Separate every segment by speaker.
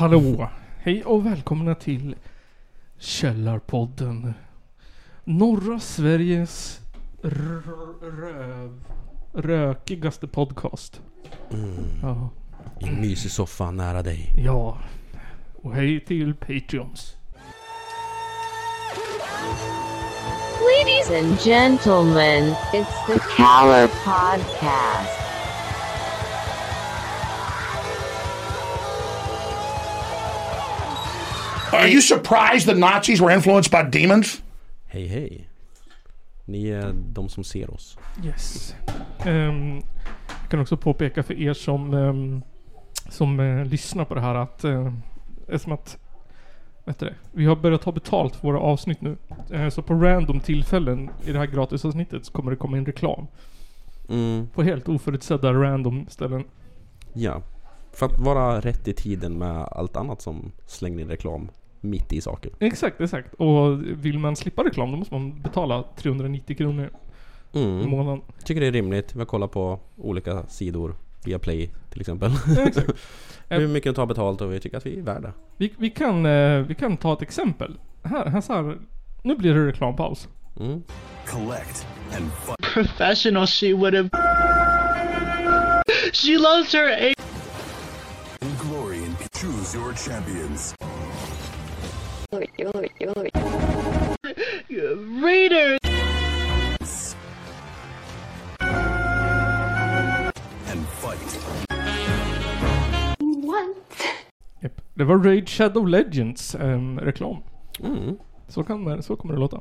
Speaker 1: Hallå! Hej och välkomna till Källarpodden. Norra Sveriges r- röv... rökigaste podcast. Ja.
Speaker 2: I en mysig soffa nära dig.
Speaker 1: ja. Och hej till Patreons.
Speaker 3: Ladies and gentlemen, it's the Caller Podcast.
Speaker 4: Are you surprised the Nazis were influenced by demons?
Speaker 2: Hej hej. Ni är de som ser oss.
Speaker 1: Yes. Ehm, jag kan också påpeka för er som, ehm, som eh, lyssnar på det här att... Uh, eftersom att... Vad heter det? Vi har börjat ta betalt för våra avsnitt nu. Eh, så på random tillfällen i det här gratisavsnittet så kommer det komma in reklam.
Speaker 2: Mm,
Speaker 1: På helt oförutsedda random ställen.
Speaker 2: ja. För att vara rätt i tiden med allt annat som slänger in reklam mitt i saker.
Speaker 1: Exakt, exakt. Och vill man slippa reklam då måste man betala 390 kronor i
Speaker 2: Mm.
Speaker 1: månaden.
Speaker 2: Tycker det är rimligt. Vi har kollat på olika sidor. Via Play till exempel. Hur mycket de tar betalt och vi tycker att vi är värda.
Speaker 1: Vi, vi, kan, eh, vi kan ta ett exempel. Här, här, så här. Nu blir det reklampaus.
Speaker 2: Mm.
Speaker 5: collect and fight.
Speaker 6: professional she would have. She loves her A
Speaker 5: in glory and choose your champions.
Speaker 6: reader.
Speaker 5: And fight.
Speaker 1: Japp. Det var Raid Shadow Legends ehm, reklam.
Speaker 2: Mm.
Speaker 1: Så, kan, så kommer det låta.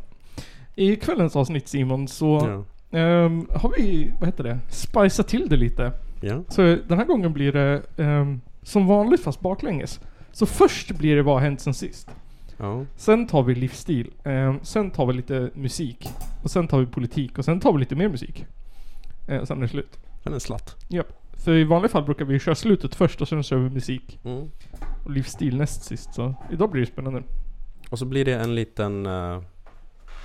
Speaker 1: I kvällens avsnitt Simon så
Speaker 2: Ja.
Speaker 1: ehm, har vi, vad heter det, spiceat till det lite.
Speaker 2: ja.
Speaker 1: Så den här gången blir det ehm, som vanligt fast baklänges. Så först blir det vad har hänt sen sist.
Speaker 2: Ja.
Speaker 1: Sen tar vi livsstil. Eh, sen tar vi lite musik. Och sen tar vi politik. Och sen tar vi lite mer musik. Eh, sen är det slut.
Speaker 2: Sen en slatt.
Speaker 1: Japp. För i vanliga fall brukar vi köra slutet först och sen kör vi musik.
Speaker 2: Mm.
Speaker 1: Och livsstil näst sist. Så idag blir det spännande.
Speaker 2: Och så blir det en liten eh,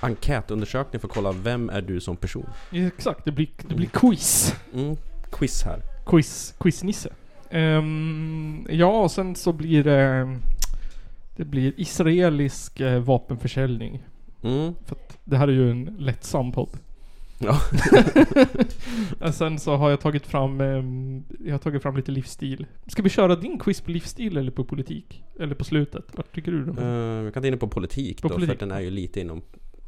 Speaker 2: enkätundersökning för att kolla vem är du som person.
Speaker 1: Exakt, det blir, det blir quiz.
Speaker 2: Mm. Quiz här.
Speaker 1: Quiz, quiznisse. Ehm, ja, och sen så blir det... Det blir israelisk eh, vapenförsäljning.
Speaker 2: Mm.
Speaker 1: För att det här är ju en lättsam podd.
Speaker 2: Ja.
Speaker 1: Och sen så har jag tagit fram, ehm, jag har tagit fram lite livsstil. Ska vi köra din quiz på livsstil eller på politik? Eller på slutet? Vad tycker du? Då?
Speaker 2: Eh, vi kan ta in det på politik
Speaker 1: Mm. På
Speaker 2: då, för
Speaker 1: politik.
Speaker 2: att den är ju lite inom...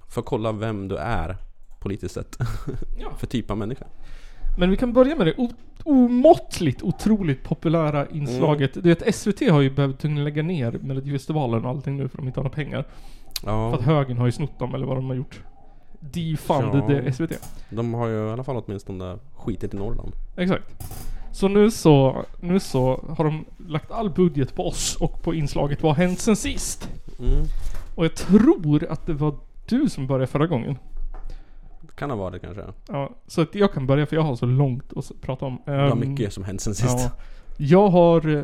Speaker 2: För att kolla vem du är politiskt sett.
Speaker 1: Ja.
Speaker 2: för typ av människa.
Speaker 1: Men vi kan börja med det o- omåttligt otroligt populära inslaget.
Speaker 2: Mm.
Speaker 1: Du vet SVT har ju behövt tvungen lägga ner Melodifestivalen och allting nu för de inte har några pengar. För
Speaker 2: Ja,
Speaker 1: att högern har ju snott dem eller vad de har gjort. Defunded
Speaker 2: Ja.
Speaker 1: eh, SVT.
Speaker 2: de har ju i alla fall åtminstone skitit i Norrland.
Speaker 1: Exakt. Så nu så, nu så har de lagt all budget på oss och på inslaget Vad har hänt sen sist?
Speaker 2: Mm.
Speaker 1: Och jag tror att det var du som började förra gången.
Speaker 2: Kan ha varit kanske.
Speaker 1: Ja, så att jag kan börja för jag har så långt att s- prata om.
Speaker 2: Det var
Speaker 1: Ehm,
Speaker 2: mycket som hänt sen sist.
Speaker 1: Ja, jag har... eh,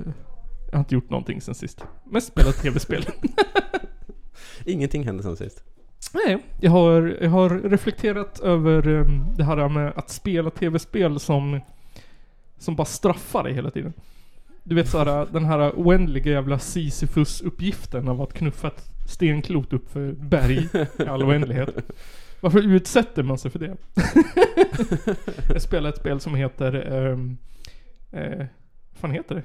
Speaker 1: Jag har inte gjort någonting sen sist. Mest spelat tv-spel.
Speaker 2: Ingenting hände sen sist.
Speaker 1: Nej, jag har, jag har reflekterat över ehm, det här med att spela tv-spel som, som bara straffar dig hela tiden. Du vet såhär, den här oändliga jävla Sisyfus-uppgiften av att knuffa ett stenklot upp för ett berg i all oändlighet. Varför utsätter man sig för det? jag spelar ett spel som heter... Um, eh, vad fan heter det?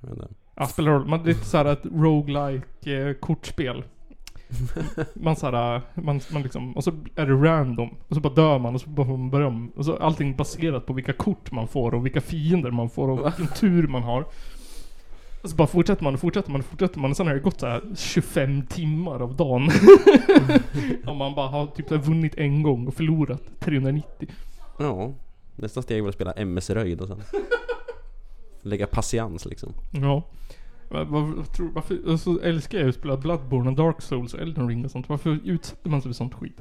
Speaker 2: Jag vet inte.
Speaker 1: Ja, spelar roll. Man, det är såhär ett roguelike eh, kortspel. Man såhär, man, man liksom, och så är det random. Och så bara dör man och så bara får man börja om. Och så allting baserat på vilka kort man får och vilka fiender man får och vilken tur man har. Och så bara fortsätter man och fortsätter man och fortsätter man och sen har det gått såhär 25 timmar av dagen. och man bara har typ så här vunnit en gång och förlorat 390.
Speaker 2: Ja. Nästa steg var att spela MS Röjd och sen... Lägga patiens liksom.
Speaker 1: Ja. Va- va- vad tror- Varför, och så älskar jag ju att spela Bloodborne och Dark Souls och Elden Ring och sånt. Varför utsätter man sig för sånt skit?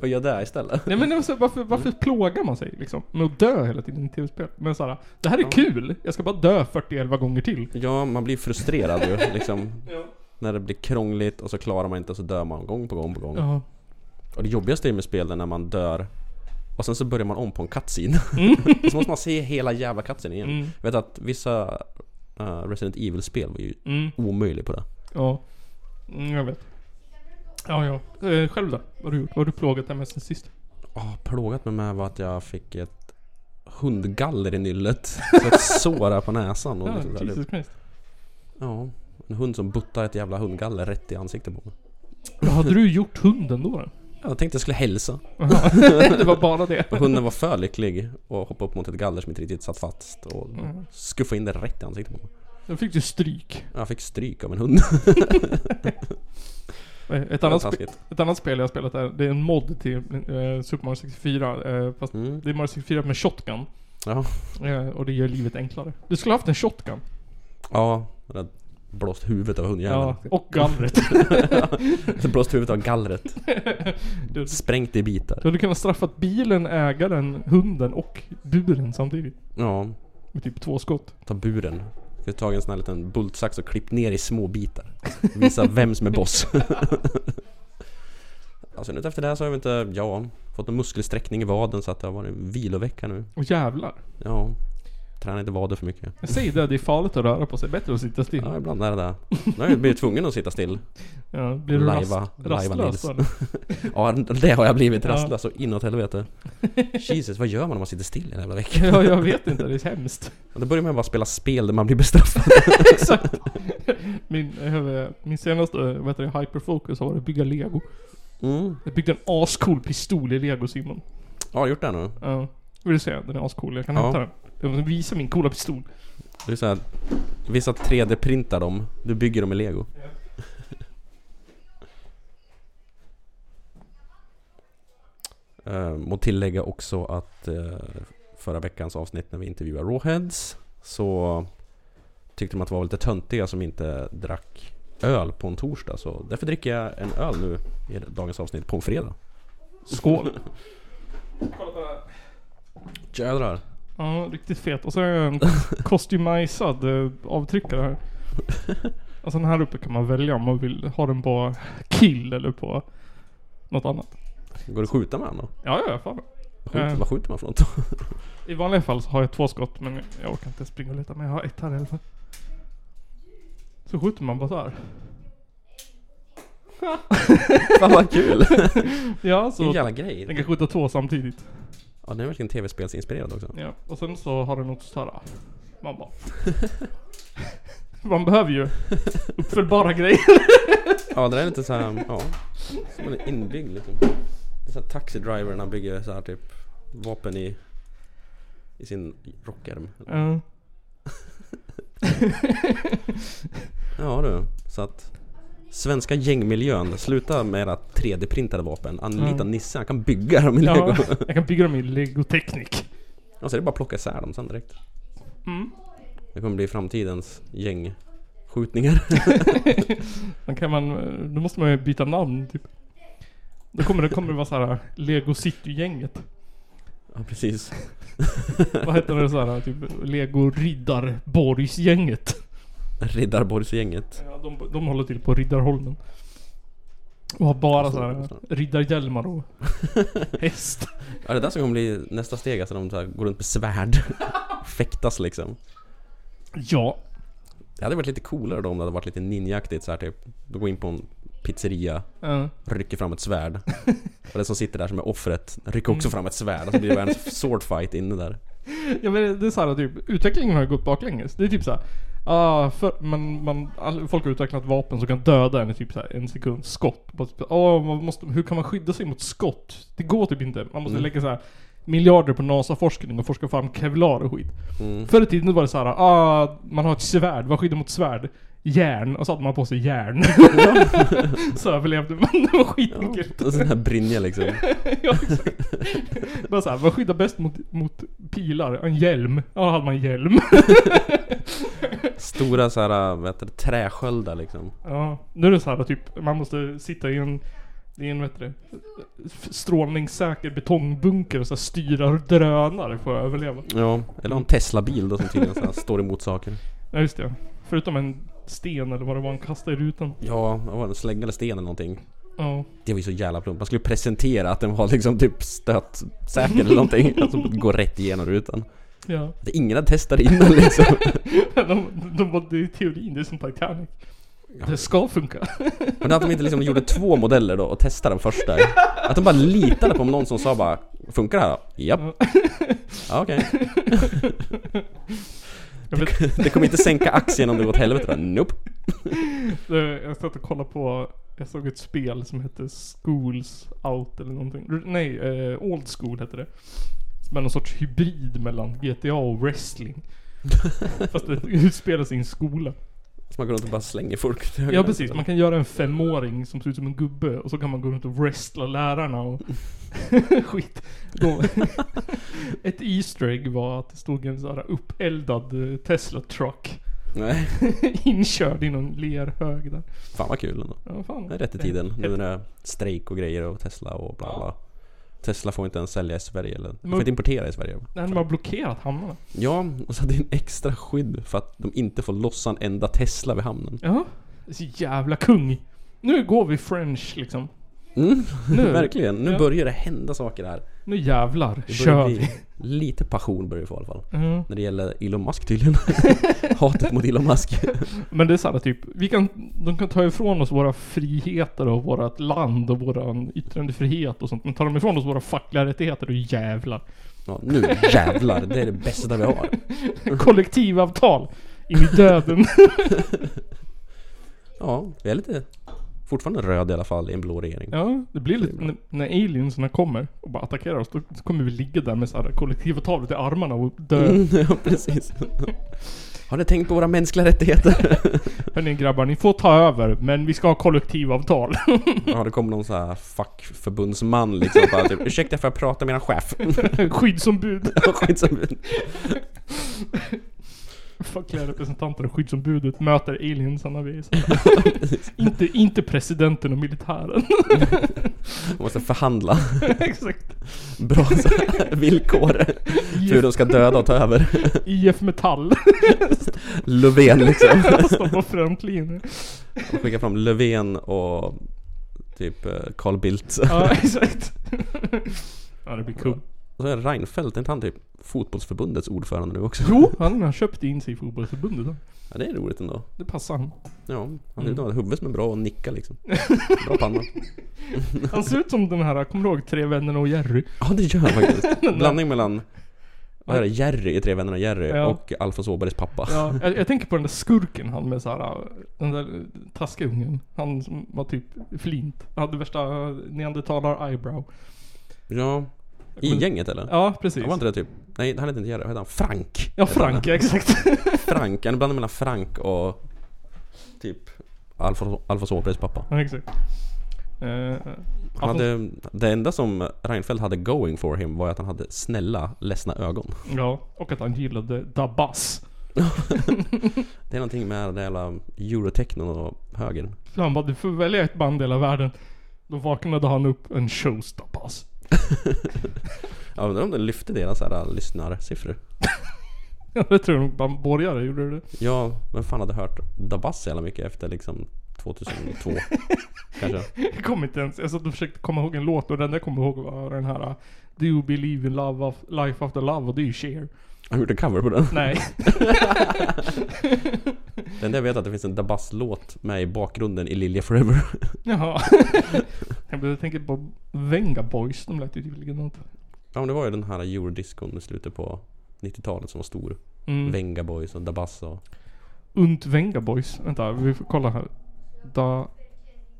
Speaker 2: Och gör det istället.
Speaker 1: Nej men det var så, varför, varför plågar man sig liksom? Med att dö hela tiden i tv-spel? Men såhär, det här är kul! Jag ska bara dö 40 gånger till.
Speaker 2: Ja, man blir frustrerad ju liksom.
Speaker 1: Ja.
Speaker 2: När det blir krångligt och så klarar man inte och så dör man gång på gång på gång.
Speaker 1: Ja.
Speaker 2: Och det jobbigaste är med spel är när man dör och sen så börjar man om på en cutscene. Och så måste man se hela jävla cutscenen igen.
Speaker 1: Mm.
Speaker 2: Jag vet att vissa eh, Resident Evil-spel var ju
Speaker 1: Mm,
Speaker 2: omöjlig på det.
Speaker 1: ja. Mm, jag vet. Ja, ja. Eh, själv då? Vad har du gjort? Vad har du plågat dig med sen sist?
Speaker 2: Oh, plågat mig med var att jag fick ett hundgaller i nyllet. Så ett sår här på näsan. Och
Speaker 1: Ja,
Speaker 2: liksom så här, det-
Speaker 1: Jesus Christ.
Speaker 2: ja, en hund som buttade ett jävla hundgaller rätt i ansiktet på mig.
Speaker 1: Vad hade du gjort hunden då? då?
Speaker 2: Jag tänkte jag skulle hälsa.
Speaker 1: det var bara det.
Speaker 2: Och hunden var för lycklig och hoppade upp mot ett galler som inte riktigt satt fast. Och
Speaker 1: Mm.
Speaker 2: skuffade in det rätt i ansiktet på mig.
Speaker 1: Då fick du stryk.
Speaker 2: Jag fick stryk av en hund.
Speaker 1: Eh, Ett
Speaker 2: Det var
Speaker 1: annat, spe-
Speaker 2: taskigt.
Speaker 1: ett annat spel jag har spelat är, det är en mod till eh, Super Mario 64. Eh, fast
Speaker 2: Mm.
Speaker 1: det är Mario 64 med shotgun.
Speaker 2: Ja.
Speaker 1: Eh, och det gör livet enklare. Du skulle haft en shotgun.
Speaker 2: Ja, det hade blåst huvudet av hundjäveln.
Speaker 1: Ja, och gallret.
Speaker 2: Det blåst huvudet av gallret.
Speaker 1: Du-
Speaker 2: Sprängt i bitar.
Speaker 1: Du hade kunnat straffat bilen, ägaren, hunden och buren samtidigt.
Speaker 2: Ja,
Speaker 1: Med typ två skott.
Speaker 2: ta buren. Ska ta en sån här liten bultsax och klipp ner i små bitar. Visa vem som är boss. Alltså nu efter det här så har jag inte, ja, fått en muskelsträckning i vaden så att det har varit en vilovecka nu.
Speaker 1: Och jävlar.
Speaker 2: Ja, tränar inte vader för mycket.
Speaker 1: Jag säger det, det är farligt att röra på sig. Bättre att sitta still.
Speaker 2: Ja, ibland är det där. Nu har jag blivit tvungen att sitta still.
Speaker 1: Ja, blir du
Speaker 2: Lajva-
Speaker 1: rast,
Speaker 2: lajva
Speaker 1: rastlös
Speaker 2: Nils.
Speaker 1: då?
Speaker 2: Ja, det har jag blivit.
Speaker 1: Ja.
Speaker 2: Rastlös och inåt helvete. Jesus, vad gör man om man sitter still en jävla vecka?
Speaker 1: Ja, jag vet inte. Det är hemskt.
Speaker 2: Och Då börjar man bara spela spel där man blir bestraffad.
Speaker 1: Exakt. Min, eh, min senaste, eh, vad heter det, hyperfocus har varit att bygga lego.
Speaker 2: Mm.
Speaker 1: Jag byggde en ascool pistol i lego Simon.
Speaker 2: Ja, jag har gjort det nu.
Speaker 1: Ja. Vill du se? Den är ascool. Jag kan
Speaker 2: Ja.
Speaker 1: hämta den. Jag vill visa min coola pistol.
Speaker 2: Det är så här, vissa 3D-printar dem. Du bygger dem i lego. Eh, må tillägga också att eh, förra veckans avsnitt när vi intervjuade Rawheads så tyckte de att det var lite töntiga som inte drack öl på en torsdag. Så därför dricker jag en öl nu i dagens avsnitt på en fredag.
Speaker 1: Skål.
Speaker 2: Jädrar.
Speaker 1: Ja, riktigt fet. Och så är jag en kostymisad eh, avtryckare här. Alltså den här uppe kan man välja om man vill ha den på kill eller på något annat.
Speaker 2: Går det att skjuta med den då?
Speaker 1: Ja, ja, fan.
Speaker 2: Skjut,
Speaker 1: Eh.
Speaker 2: Vad skjuter man för något?
Speaker 1: I vanliga fall så har jag två skott, men jag orkar inte springa och leta. Men jag har ett här i alla fall. Så skjuter man bara så här.
Speaker 2: Fan vad kul!
Speaker 1: Ja,
Speaker 2: Det är en
Speaker 1: så
Speaker 2: jävla grej.
Speaker 1: den kan skjuta två samtidigt.
Speaker 2: Ja, den är verkligen tv-spelsinspirerad också.
Speaker 1: Ja, och sen så har den något så här. Man bara... Man behöver ju uppföljbara grejer.
Speaker 2: Ja, det där är lite så här, ja. Som en inbyggd liksom. Det är såhär taxidriverna bygger så här typ vapen i, i sin rockärm.
Speaker 1: Ja.
Speaker 2: Ja du, så att svenska gängmiljön, sluta med era 3D-printade vapen. Anlita
Speaker 1: Mm.
Speaker 2: Nisse, han kan bygga dem i lego.
Speaker 1: Ja, jag kan bygga dem i legoteknik.
Speaker 2: Och så är det bara att plocka isär dem sen direkt.
Speaker 1: Mm.
Speaker 2: Det kommer bli framtidens gängskjutningar.
Speaker 1: Då kan man, eh, då måste man ju byta namn typ. Då kommer det, kommer det vara så här Lego City-gänget.
Speaker 2: Ja precis.
Speaker 1: Vad heter det så här typ Lego Riddarborgsgänget.
Speaker 2: Riddarborgsgänget.
Speaker 1: Ja, de, de håller till på Riddarholmen. Och har bara så här riddarhjälmar och häst.
Speaker 2: Ja det är där som kommer bli nästa steg, alltså de så här går runt med svärd. Fäktas liksom.
Speaker 1: Ja.
Speaker 2: Det hade varit lite coolare då om det hade varit lite ninjaaktigt så här typ. Du går in på en pizzeria,
Speaker 1: eh,
Speaker 2: rycker fram ett svärd. Och den som sitter där som är offret rycker också fram ett svärd. Och så blir det en sword fight inne där.
Speaker 1: Ja men det är så här typ, utvecklingen har ju gått baklänges. Det är typ så här. Ah, för, man, man, all, folk har utvecklat vapen som kan döda en i typ så här en sekund skott. Bara typ, ah, man måste, hur kan man skydda sig mot skott? Det går typ inte. Man måste lägga så här miljarder på NASA-forskning och forska fram kevlar och skit. Förr i tiden var det så här, ah, man har ett svärd, vad skyddar mot svärd? Järn, och så hade man på sig järn. så överlevde man, det var skitenkelt.
Speaker 2: Och sån här Brynja liksom.
Speaker 1: Ja, exakt. Bara såhär, vad skyddar bäst mot, mot pilar? En hjälm. Ja, då hade man hjälm.
Speaker 2: Stora så här, äh, vad heter det, träsköldar liksom.
Speaker 1: Ja, nu är det såhär typ, man måste sitta i en, i en vad heter det, f- strålningssäker betongbunker och så här styra drönare för att överleva.
Speaker 2: Ja, eller en Tesla-bil då som tydligen så här, står emot saker.
Speaker 1: Ja, just det. Förutom en sten eller vad det var han kastade i rutan.
Speaker 2: Ja, vad var det? Slägga eller sten eller någonting.
Speaker 1: Ja.
Speaker 2: Det var ju så jävla plumpt. Man skulle presentera att den var liksom typ stötsäker eller någonting. Alltså går rätt igenom rutan.
Speaker 1: Ja.
Speaker 2: Det ingen hade testat innan liksom.
Speaker 1: De, de var, det är teorin, det är som Titanic. Det ska funka.
Speaker 2: Men att de inte liksom gjorde två modeller då och testade den första. Att de bara litade på någon som sa bara Funkar det här då? Japp. Ja, okej.
Speaker 1: Jag, vet,
Speaker 2: Det kommer inte sänka aktien om det går åt helvete då? Nope.
Speaker 1: eh, jag satt och kollade på, jag såg ett spel som hette Schools Out eller någonting. R- Nej, eh, Old School hette det. Som är någon sorts hybrid mellan GTA och wrestling. Fast det utspelas i en skola.
Speaker 2: Så man går runt och bara slänger folk till höger
Speaker 1: Ja
Speaker 2: och
Speaker 1: precis,
Speaker 2: vänster.
Speaker 1: man kan göra en femåring som ser ut som en gubbe och så kan man gå runt och wrestla lärarna och skit. Då- Ett Easter egg var att det stod en sån här uppeldad eh, Tesla truck
Speaker 2: Nej.
Speaker 1: inkörd i någon lerhög där.
Speaker 2: Fan vad kul ändå.
Speaker 1: Ja, fan.
Speaker 2: Det är rätt i tiden. Nu när det är strejk och grejer och Tesla och bla bla. Tesla får inte ens sälja i Sverige eller... De
Speaker 1: Men-
Speaker 2: får inte importera i Sverige.
Speaker 1: Nej, de har blockerat hamnarna.
Speaker 2: Ja, och så hade det en extra skydd för att de inte får lossa en enda Tesla vid hamnen.
Speaker 1: Ja. Så jävla kung. Nu går vi French liksom.
Speaker 2: Mm,
Speaker 1: Nu.
Speaker 2: verkligen. Nu
Speaker 1: Ja.
Speaker 2: börjar det hända saker här.
Speaker 1: Nu jävlar
Speaker 2: Det börjar
Speaker 1: kör
Speaker 2: bli
Speaker 1: vi. Mm.
Speaker 2: lite passion börjar vi få i alla fall.
Speaker 1: Ja.
Speaker 2: När det gäller Elon Musk tydligen. Hatet mot Elon Musk.
Speaker 1: Men det är såhär typ, vi kan, de kan ta ifrån oss våra friheter och vårt land och våran yttrandefrihet och sånt. Men tar de ifrån oss våra fackliga rättigheter, då jävlar.
Speaker 2: Ja, nu jävlar, det är det bästa vi har.
Speaker 1: Kollektivavtal! In i döden.
Speaker 2: Ja, vi är lite fortfarande röd i alla fall i en blå regering.
Speaker 1: ja, det blir lite, när, när alienserna kommer och bara attackerar oss, då kommer vi ligga där med såhär kollektivavtalet i armarna och dö.
Speaker 2: Mm, ja, precis. Har ni tänkt på våra mänskliga rättigheter?
Speaker 1: Hörni grabbar, ni får ta över, men vi ska ha kollektivavtal.
Speaker 2: Ja, det kommer någon sån här fackförbundsman liksom bara typ Ursäkta får jag prata med er chef?
Speaker 1: Skyddsombud.
Speaker 2: Skyddsombud.
Speaker 1: Fackliga representanter och skyddsombudet möter aliensarna vid såhär. inte, inte presidenten och militären.
Speaker 2: Måste förhandla
Speaker 1: Exakt.
Speaker 2: bra så här villkor. För hur de ska döda och ta över.
Speaker 1: IF Metall.
Speaker 2: Löfven liksom.
Speaker 1: Står på frontlinjen.
Speaker 2: Och skicka fram Löfven och typ eh, Carl Bildt.
Speaker 1: Ja, exakt. Ja, det blir kul.
Speaker 2: Och så är Reinfeldt, är inte han typ fotbollsförbundets ordförande nu också?
Speaker 1: Jo, han har köpt in sig i fotbollsförbundet. då.
Speaker 2: Ja, det är roligt ändå.
Speaker 1: Det passar han.
Speaker 2: Ja, han
Speaker 1: Mm.
Speaker 2: ser ut att ha ett huvud som är bra och nicka liksom. Bra panna.
Speaker 1: Han ser ut som den här, kommer du ihåg Tre vänner och Jerry?
Speaker 2: Ja, det gör han faktiskt. Blandning mellan vad är det, Jerry i Tre vännerna Jerry
Speaker 1: Ja.
Speaker 2: och Alfons Åbergs pappa.
Speaker 1: Ja, jag, jag tänker på den där skurken han med såhär, den där taskiga ungen. Han som var typ flint. Han hade värsta neandertalar-eyebrow.
Speaker 2: Ja. I gänget eller?
Speaker 1: Ja, precis.
Speaker 2: Han var inte det typ? Nej, han hette inte Jerry. Vad hette han? Frank?
Speaker 1: Ja,
Speaker 2: Hette han.
Speaker 1: Frank, ja, exakt.
Speaker 2: Frank. Han är blandning mellan Frank och typ Alfons Alfons Åbergs pappa.
Speaker 1: Ja, exakt. Eh,
Speaker 2: Han hade, det enda som Reinfeldt hade going for him var att han hade snälla, ledsna ögon.
Speaker 1: ja, och att han gillade Dabas.
Speaker 2: Det är någonting med den där jävla eurotechnon och högern.
Speaker 1: För han bara, du får välja ett band i hela världen. Då vaknade han upp en showstoppers.
Speaker 2: Jag undrar om den lyfte deras så här lyssnarsiffror.
Speaker 1: Ja, det tror jag nog bland borgare gjorde det.
Speaker 2: Ja, vem fan hade hört Dabas så jävla mycket efter liksom 2002? Kanske.
Speaker 1: Jag kommer inte ens, jag satt och försökte komma ihåg en låt och den där jag kommer ihåg var den här uh, Do you believe in love of, life after love och det är ju Cher.
Speaker 2: Har du gjort en cover på den?
Speaker 1: Nej.
Speaker 2: Det enda jag vet är att det finns en Dabas-låt med i bakgrunden i Lilja Forever.
Speaker 1: Jaha. jag började tänka på Venga Boys, de lät ju typ likadant.
Speaker 2: Ja men det var ju den här eurodiscon i slutet på 90-talet som var stor.
Speaker 1: Mm.
Speaker 2: Venga Boys och Dabas och...
Speaker 1: Unt Venga Boys. Vänta, vi får kolla här. Da...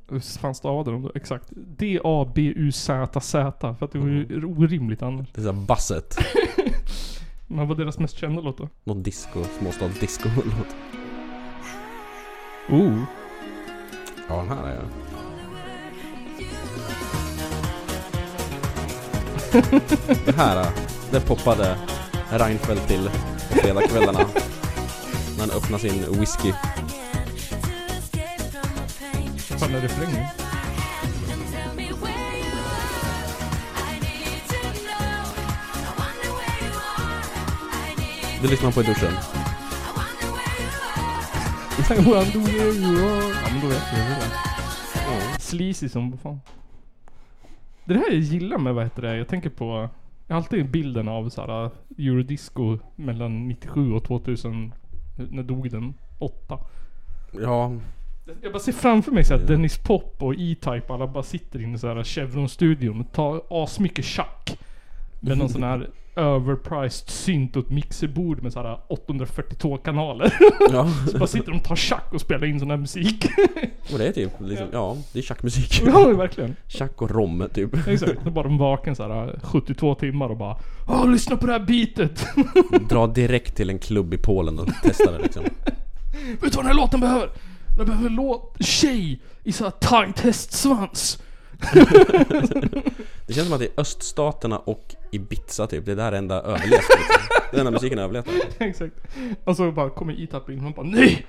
Speaker 1: Hur fan stavade de då? Exakt. D-A-B-U-Z-Z. För att det var ju orimligt annars.
Speaker 2: Det är såhär basset.
Speaker 1: Men vad är deras mest kända låt då?
Speaker 2: Någon disco, småstadsdisco-låt.
Speaker 1: Oh.
Speaker 2: Ja den här är jag. Det här, det poppade Reinfeldt till på fredagskvällarna. När han öppnade sin whisky.
Speaker 1: Fan är refrängen?
Speaker 2: Det lyssnar man på i duschen.
Speaker 1: I wonder where you Oh. are. Ja men då vet vi ju det. Sleazy som fan. Det här jag gillar med vad heter det, jag tänker på Jag har alltid bilden av såhär Eurodisco mellan 97 och 2000. När dog den? 8.
Speaker 2: Ja,
Speaker 1: Jag bara ser framför mig såhär Dennis Pop och E-Type alla bara sitter inne i såhär Chevron-studion och tar asmycket tjack. Med någon sån här överpriced synt och ett mixerbord med såhär 842 kanaler.
Speaker 2: ja.
Speaker 1: Så bara sitter de och tar tjack och spelar in sån här musik.
Speaker 2: Och det är typ liksom, ja, det är tjackmusik.
Speaker 1: ja, verkligen.
Speaker 2: Tjack och rom typ.
Speaker 1: Exakt. Då bara de vaken såhär 72 timmar och bara Åh, lyssna på det här beatet!
Speaker 2: Dra direkt till en klubb i Polen och testa det liksom.
Speaker 1: Vet du vad den här låten behöver? Den behöver en låt, tjej i såhär tight hästsvans.
Speaker 2: Det känns som att i öststaterna och Ibiza typ, det är där enda överlevt. Liksom. Den enda musiken har överlevt.
Speaker 1: Exakt. Och så bara kommer E-Type in och han bara NEJ!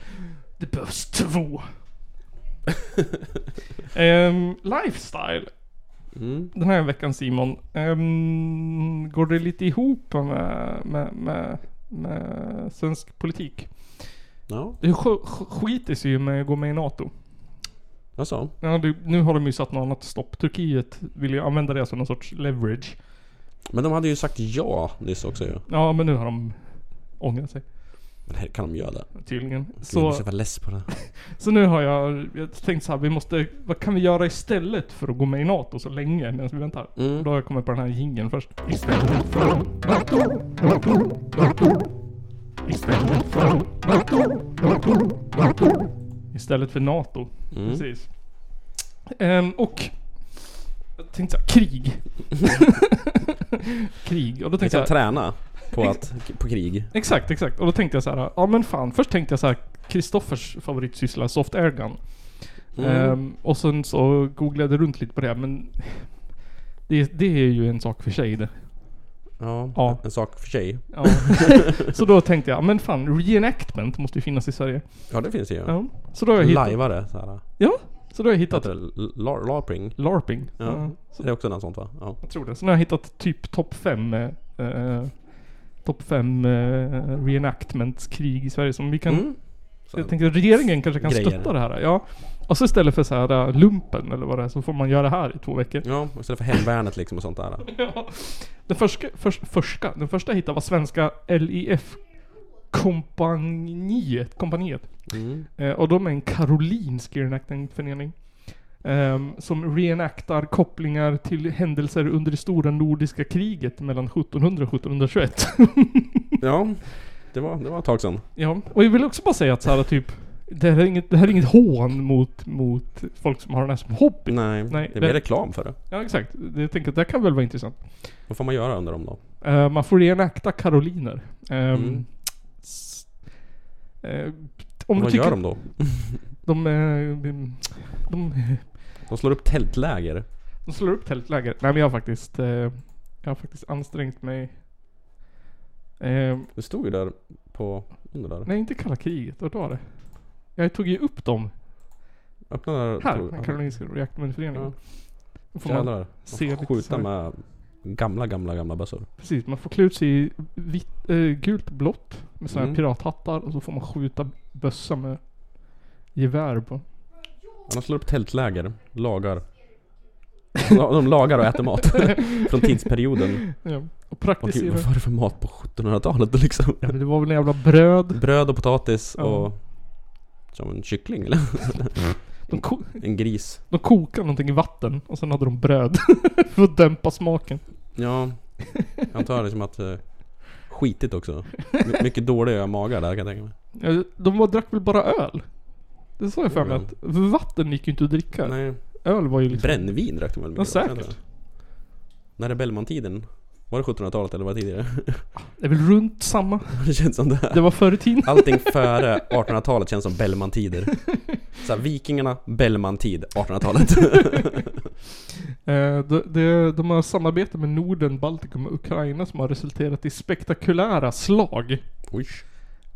Speaker 1: Det behövs två. Ehm, lifestyle. Den här veckan Simon. Ehm, går det lite ihop med, med, med, med svensk politik?
Speaker 2: Ja,
Speaker 1: Det sk- sk- skiter sig ju med att gå med i NATO.
Speaker 2: alltså.
Speaker 1: Ja, det, nu har de ju satt något annat stopp. Turkiet vill ju använda det som någon sorts leverage.
Speaker 2: Men de hade ju sagt ja nyss också ju.
Speaker 1: Ja, men nu har de ångrat sig.
Speaker 2: Men här kan de göra det.
Speaker 1: Tydligen.
Speaker 2: Så...
Speaker 1: Så,
Speaker 2: Jag var less på det.
Speaker 1: så nu har jag, jag tänkt så här, vi måste, vad kan vi göra istället för att gå med i NATO så länge medan vi väntar? Då har jag kommit på den här jingeln först. Istället för NATO, NATO, NATO. Istället för NATO, NATO, NATO. Istället för NATO. Precis. Ehm, och jag tänkte såhär, krig. krig. Och då
Speaker 2: Vi
Speaker 1: tänkte
Speaker 2: kan
Speaker 1: jag,
Speaker 2: träna på, att, på krig.
Speaker 1: Exakt, exakt. Och då tänkte jag så här, ja men fan. Först tänkte jag så här, Kristoffers favoritsyssla, soft airgun.
Speaker 2: Mm.
Speaker 1: Ehm, och sen så googlade jag runt lite på det, men det, det är ju en sak för sig det.
Speaker 2: Ja,
Speaker 1: Ja.
Speaker 2: en sak för sig.
Speaker 1: Ja. så då tänkte jag, men fan, reenactment måste ju finnas i Sverige.
Speaker 2: Ja, det finns det ju.
Speaker 1: Ja. Så då har jag hittat...
Speaker 2: Lajvare såhär.
Speaker 1: Ja, så då har jag
Speaker 2: Vad
Speaker 1: hittat
Speaker 2: heter det? Lar- Larping?
Speaker 1: LARPing. Ja.
Speaker 2: Ja.
Speaker 1: så
Speaker 2: Det är också något sånt va? Ja.
Speaker 1: jag tror det. Så nu har jag hittat typ topp fem eh, eh, Topp fem eh, reenactment-krig i Sverige som vi kan
Speaker 2: Mm.
Speaker 1: Så jag tänker att regeringen kanske kan
Speaker 2: Grejer.
Speaker 1: stötta det här. Ja. Och så istället för så här äh, lumpen eller vad det är så får man göra det här i två veckor.
Speaker 2: Ja, istället för hemvärnet liksom och sånt där.
Speaker 1: Den första, förs, första, den första jag hittade var svenska LIF kompaniet. kompaniet.
Speaker 2: Mm.
Speaker 1: Eh, och de är en karolinsk reenactment-förening. ehm, som reenactar kopplingar till händelser under det stora nordiska kriget mellan 1700 och 1721.
Speaker 2: Ja, det var, det var ett tag sedan.
Speaker 1: Ja, och jag vill också bara säga att så här typ det här, är inget, det här är inget hån mot, mot folk som har den här som hobby.
Speaker 2: Nej,
Speaker 1: Nej,
Speaker 2: det
Speaker 1: det-
Speaker 2: blir reklam för det.
Speaker 1: Ja, exakt. Jag tänker att det här kan väl vara intressant.
Speaker 2: Vad får man göra under dem då?
Speaker 1: Eh, man får reenakta karoliner. Ehm,
Speaker 2: Mm.
Speaker 1: s- eh, om du
Speaker 2: Vad
Speaker 1: tycker
Speaker 2: gör de då?
Speaker 1: de, eh, de, de,
Speaker 2: De slår upp tältläger.
Speaker 1: de slår upp tältläger. Nej men jag har faktiskt, eh, jag har faktiskt ansträngt mig. Ehm,
Speaker 2: Det stod ju där på... Under där.
Speaker 1: nej inte kalla kriget, vart var det? Jag tog ju upp dem
Speaker 2: Öppna där.
Speaker 1: här,
Speaker 2: tog-
Speaker 1: den Karolinska reaktmentföreningen. Då får man
Speaker 2: Jävlar.
Speaker 1: se lite så
Speaker 2: Skjuta
Speaker 1: här.
Speaker 2: med gamla, gamla, gamla bössor.
Speaker 1: Precis, man får klä ut sig i vitt, eh, gult och blått med sådana här
Speaker 2: Mm.
Speaker 1: pirathattar och så får man skjuta bössa med gevär på.
Speaker 2: De slår upp tältläger. Lagar. De- De lagar och äter mat. Från tidsperioden.
Speaker 1: Ja. Och
Speaker 2: Och gud,
Speaker 1: praktisera.
Speaker 2: vad var det för mat på 1700-talet liksom?
Speaker 1: Ja, men det var väl en jävla bröd.
Speaker 2: Bröd och potatis
Speaker 1: Ja.
Speaker 2: och... Som en kyckling eller?
Speaker 1: De, ko-
Speaker 2: En gris.
Speaker 1: de kokade någonting i vatten och sen hade de bröd. för att dämpa smaken.
Speaker 2: Ja, jag antar liksom att eh, skitigt också. My- mycket dåliga magar där kan jag tänka mig.
Speaker 1: Ja, Eh, De var, drack väl bara öl? Det sa jag för mig
Speaker 2: Mm.
Speaker 1: att vatten gick ju inte att dricka.
Speaker 2: Nej,
Speaker 1: Öl var ju liksom...
Speaker 2: brännvin drack de väl mycket?
Speaker 1: Ja,
Speaker 2: då,
Speaker 1: säkert.
Speaker 2: tror jag. När är Bellman-tiden? Var det 1700-talet eller var det tidigare?
Speaker 1: Det är väl runt samma.
Speaker 2: det känns som det. Här.
Speaker 1: Det var förr i tiden.
Speaker 2: Allting före 1800-talet känns som Bellman-tider. Så här, vikingarna, Bellman-tid, 1800-talet.
Speaker 1: Eh, de, de, de har samarbete med Norden, Baltikum och Ukraina som har resulterat i spektakulära slag.
Speaker 2: Oj.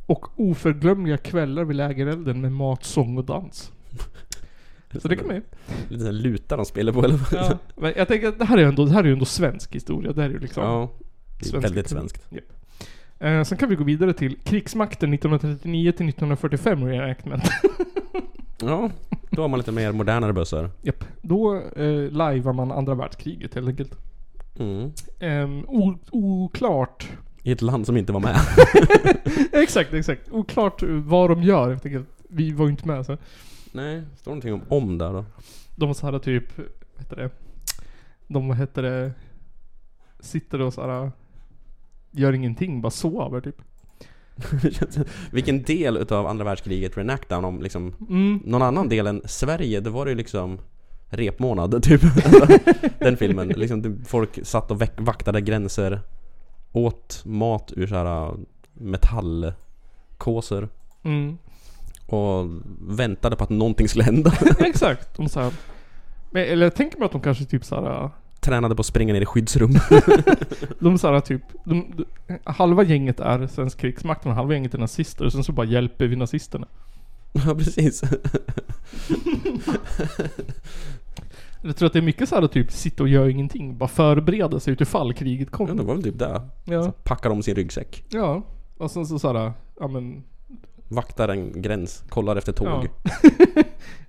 Speaker 1: Och oförglömliga kvällar vid lägerelden med mat, sång och dans. Så det kan man ju.
Speaker 2: Lite sån här luta de spelar på eller vad?
Speaker 1: Ja. Men jag tänker att det här är ju ändå, det här är ju ändå svensk historia. Det här är ju liksom...
Speaker 2: Ja. Det är
Speaker 1: Svensk
Speaker 2: väldigt
Speaker 1: kultur.
Speaker 2: svenskt.
Speaker 1: Eh, sen kan vi gå vidare till krigsmakten 1939 till 1945 reenactment.
Speaker 2: Ja, då har man lite mer modernare bössor.
Speaker 1: Japp. Då eh, lajvar man andra världskriget helt enkelt.
Speaker 2: Mm.
Speaker 1: Ehm, o- oklart.
Speaker 2: I ett land som inte var med.
Speaker 1: Exakt, exakt. Oklart vad de gör helt enkelt. Vi var ju inte med så.
Speaker 2: Nej, står någonting om om där då?
Speaker 1: De var så här typ, vad heter det? De, vad heter det? Sitter och så här Gör ingenting, bara sover typ.
Speaker 2: Vilken del utav andra världskriget renactar han om liksom
Speaker 1: Mm.
Speaker 2: någon annan del än Sverige? Det var det ju liksom repmånad typ. Den filmen. Liksom, det- folk satt och väck- vaktade gränser. Åt mat ur så här äh, metallkåsor.
Speaker 1: Mm.
Speaker 2: Och väntade på att någonting skulle hända.
Speaker 1: Exakt. De så här. Men, eller jag tänker mig att de kanske typ så här.
Speaker 2: Tränade på att springa ner i skyddsrum.
Speaker 1: De så här typ, de, de, halva gänget är svensk krigsmakten och halva gänget är nazister. Och sen så bara hjälper vi nazisterna.
Speaker 2: ja precis.
Speaker 1: Jag tror att det är mycket så här typ sitta och göra ingenting. Bara förbereda sig utifall kriget
Speaker 2: Ja, det
Speaker 1: kommer.
Speaker 2: var väl typ det.
Speaker 1: Ja.
Speaker 2: Så packar om sin ryggsäck.
Speaker 1: Ja. Och sen så såhär, ja men.
Speaker 2: Vaktar en gräns. Kollar efter tåg.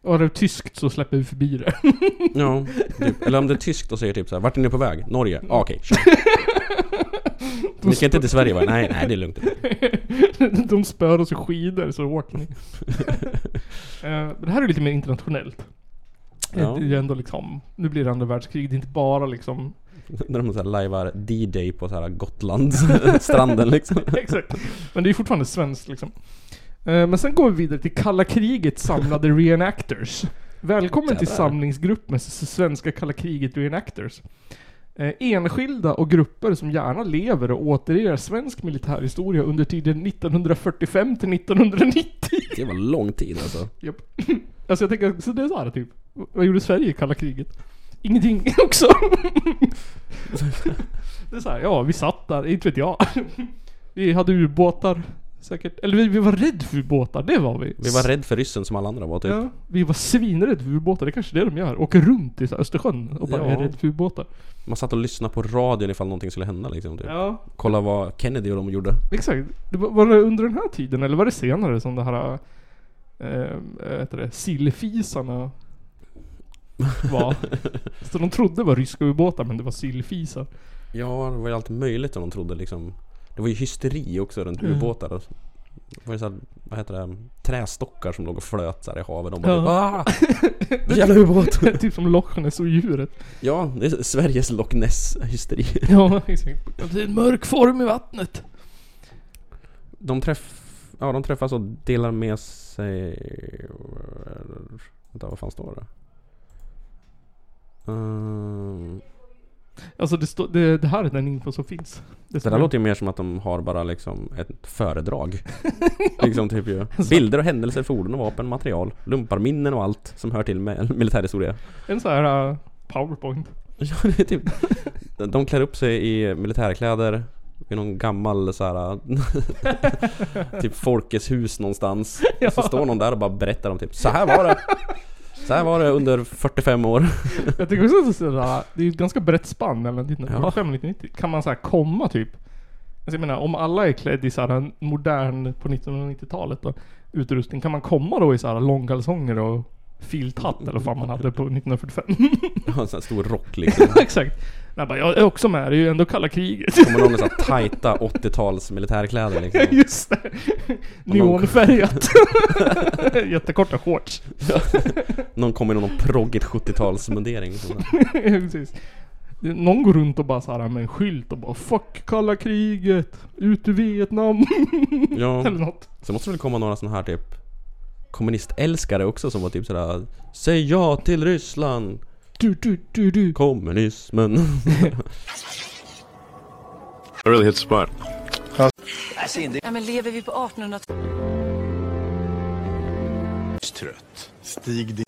Speaker 1: Ja. Var det tyskt så släpper vi förbi det.
Speaker 2: Ja, typ. eller om det är tyskt och säger typ såhär, vart är ni på väg? Norge? Ah, okej, kör. Ni ska inte till Sverige va? Nej, nej det är lugnt.
Speaker 1: De spör oss i skidor så åker ni. Eh, men det här är lite mer internationellt.
Speaker 2: Ja.
Speaker 1: Det är ju ändå liksom, nu blir det andra världskrig. Det är inte bara liksom
Speaker 2: När de såhär lajvar D-Day på såhär Gotlandsstranden liksom.
Speaker 1: Exakt. Men det är fortfarande svenskt liksom. Eh, Men sen går vi vidare till kalla krigets samlade reenactors. Välkommen till
Speaker 2: Jävlar.
Speaker 1: samlingsgrupp med s- svenska kalla kriget reenactors. Eh, Enskilda och grupper som gärna lever och återger svensk militärhistoria under tiden 1945 till 1990.
Speaker 2: Det var lång tid alltså.
Speaker 1: Japp. Alltså jag tänker, så det är såhär typ. Vad gjorde Sverige i kalla kriget? Ingenting också. det är såhär, ja vi satt där, inte vet jag. Vi hade ubåtar säkert. Eller vi, vi var rädda för ubåtar, det var vi.
Speaker 2: Vi var rädd för ryssen som alla andra var typ.
Speaker 1: Ja, vi var svinrädda för ubåtar, det är kanske är det de gör. Åker runt i så här Östersjön och bara
Speaker 2: Ja.
Speaker 1: är rädda för ubåtar.
Speaker 2: Man satt och lyssnade på radion ifall någonting skulle hända liksom. Typ.
Speaker 1: Ja,
Speaker 2: Kolla vad Kennedy och de gjorde.
Speaker 1: exakt. Det var, var det under den här tiden eller var det senare som det här... Eh, vad heter det? Sillfisarna var. Så de trodde det var ryska ubåtar men det var sillfisar.
Speaker 2: Ja, det var ju allt möjligt om de trodde liksom. Det var ju hysteri också runt
Speaker 1: Mm.
Speaker 2: ubåtar. och- Det var ju såhär, vad heter det, trästockar som låg och flöt så här i havet. De bara
Speaker 1: Ja.
Speaker 2: typ, ah! Jävla ubåt!
Speaker 1: typ som Loch Ness och djuret.
Speaker 2: Ja, det är Sveriges Loch Ness-hysteri.
Speaker 1: Ja, exakt. Det är en mörk form i vattnet.
Speaker 2: De, träff, ja, de träffas och delar med sig... Vänta, vad fan står det? Ehm,
Speaker 1: Alltså det, står det, det här är den info som finns.
Speaker 2: det
Speaker 1: står-
Speaker 2: där låter ju mer som att de har bara liksom ett föredrag. liksom typ ju. Bilder och händelser, fordon och vapen, material, lumparminnen och allt som hör till med militärhistoria.
Speaker 1: En sån här eh, powerpoint.
Speaker 2: Ja, det är typ. De klär upp sig i militärkläder i någon gammal så här typ Folkets hus någonstans. Och så står någon där och bara berättar om typ så här var det. Så här var det under 45 år.
Speaker 1: Jag tycker också att det är sådär, det är ju ett ganska brett spann mellan 1945 och 1990. Kan man såhär komma typ? Alltså jag menar om alla är klädda i såhär modern på 1990-talet då, utrustning. Kan man komma då i såhär långkalsonger och filthatt eller vad fan man hade på 1945?
Speaker 2: Och en sån här stor rock liksom.
Speaker 1: Exakt. Jag bara, jag är också med, det är ju ändå kalla kriget.
Speaker 2: Kommer någon med så här tajta 80-tals militärkläder liksom.
Speaker 1: Just det. Neonfärgat. Jättekorta shorts.
Speaker 2: Någon kommer i någon proggigt 70-tals mundering. Liksom.
Speaker 1: Precis. Någon går runt och bara såhär med en skylt och bara 'Fuck kalla kriget! Ut ur Vietnam!'
Speaker 2: Ja.
Speaker 1: Eller något.
Speaker 2: Så måste det väl komma några såna här typ kommunistälskare också som var typ sådär Säg ja till Ryssland!
Speaker 1: Du, du, du, du.
Speaker 2: Kommunismen!
Speaker 7: Really hit the spot.
Speaker 8: Ja, men lever vi på 1800
Speaker 5: Trött. Stig din...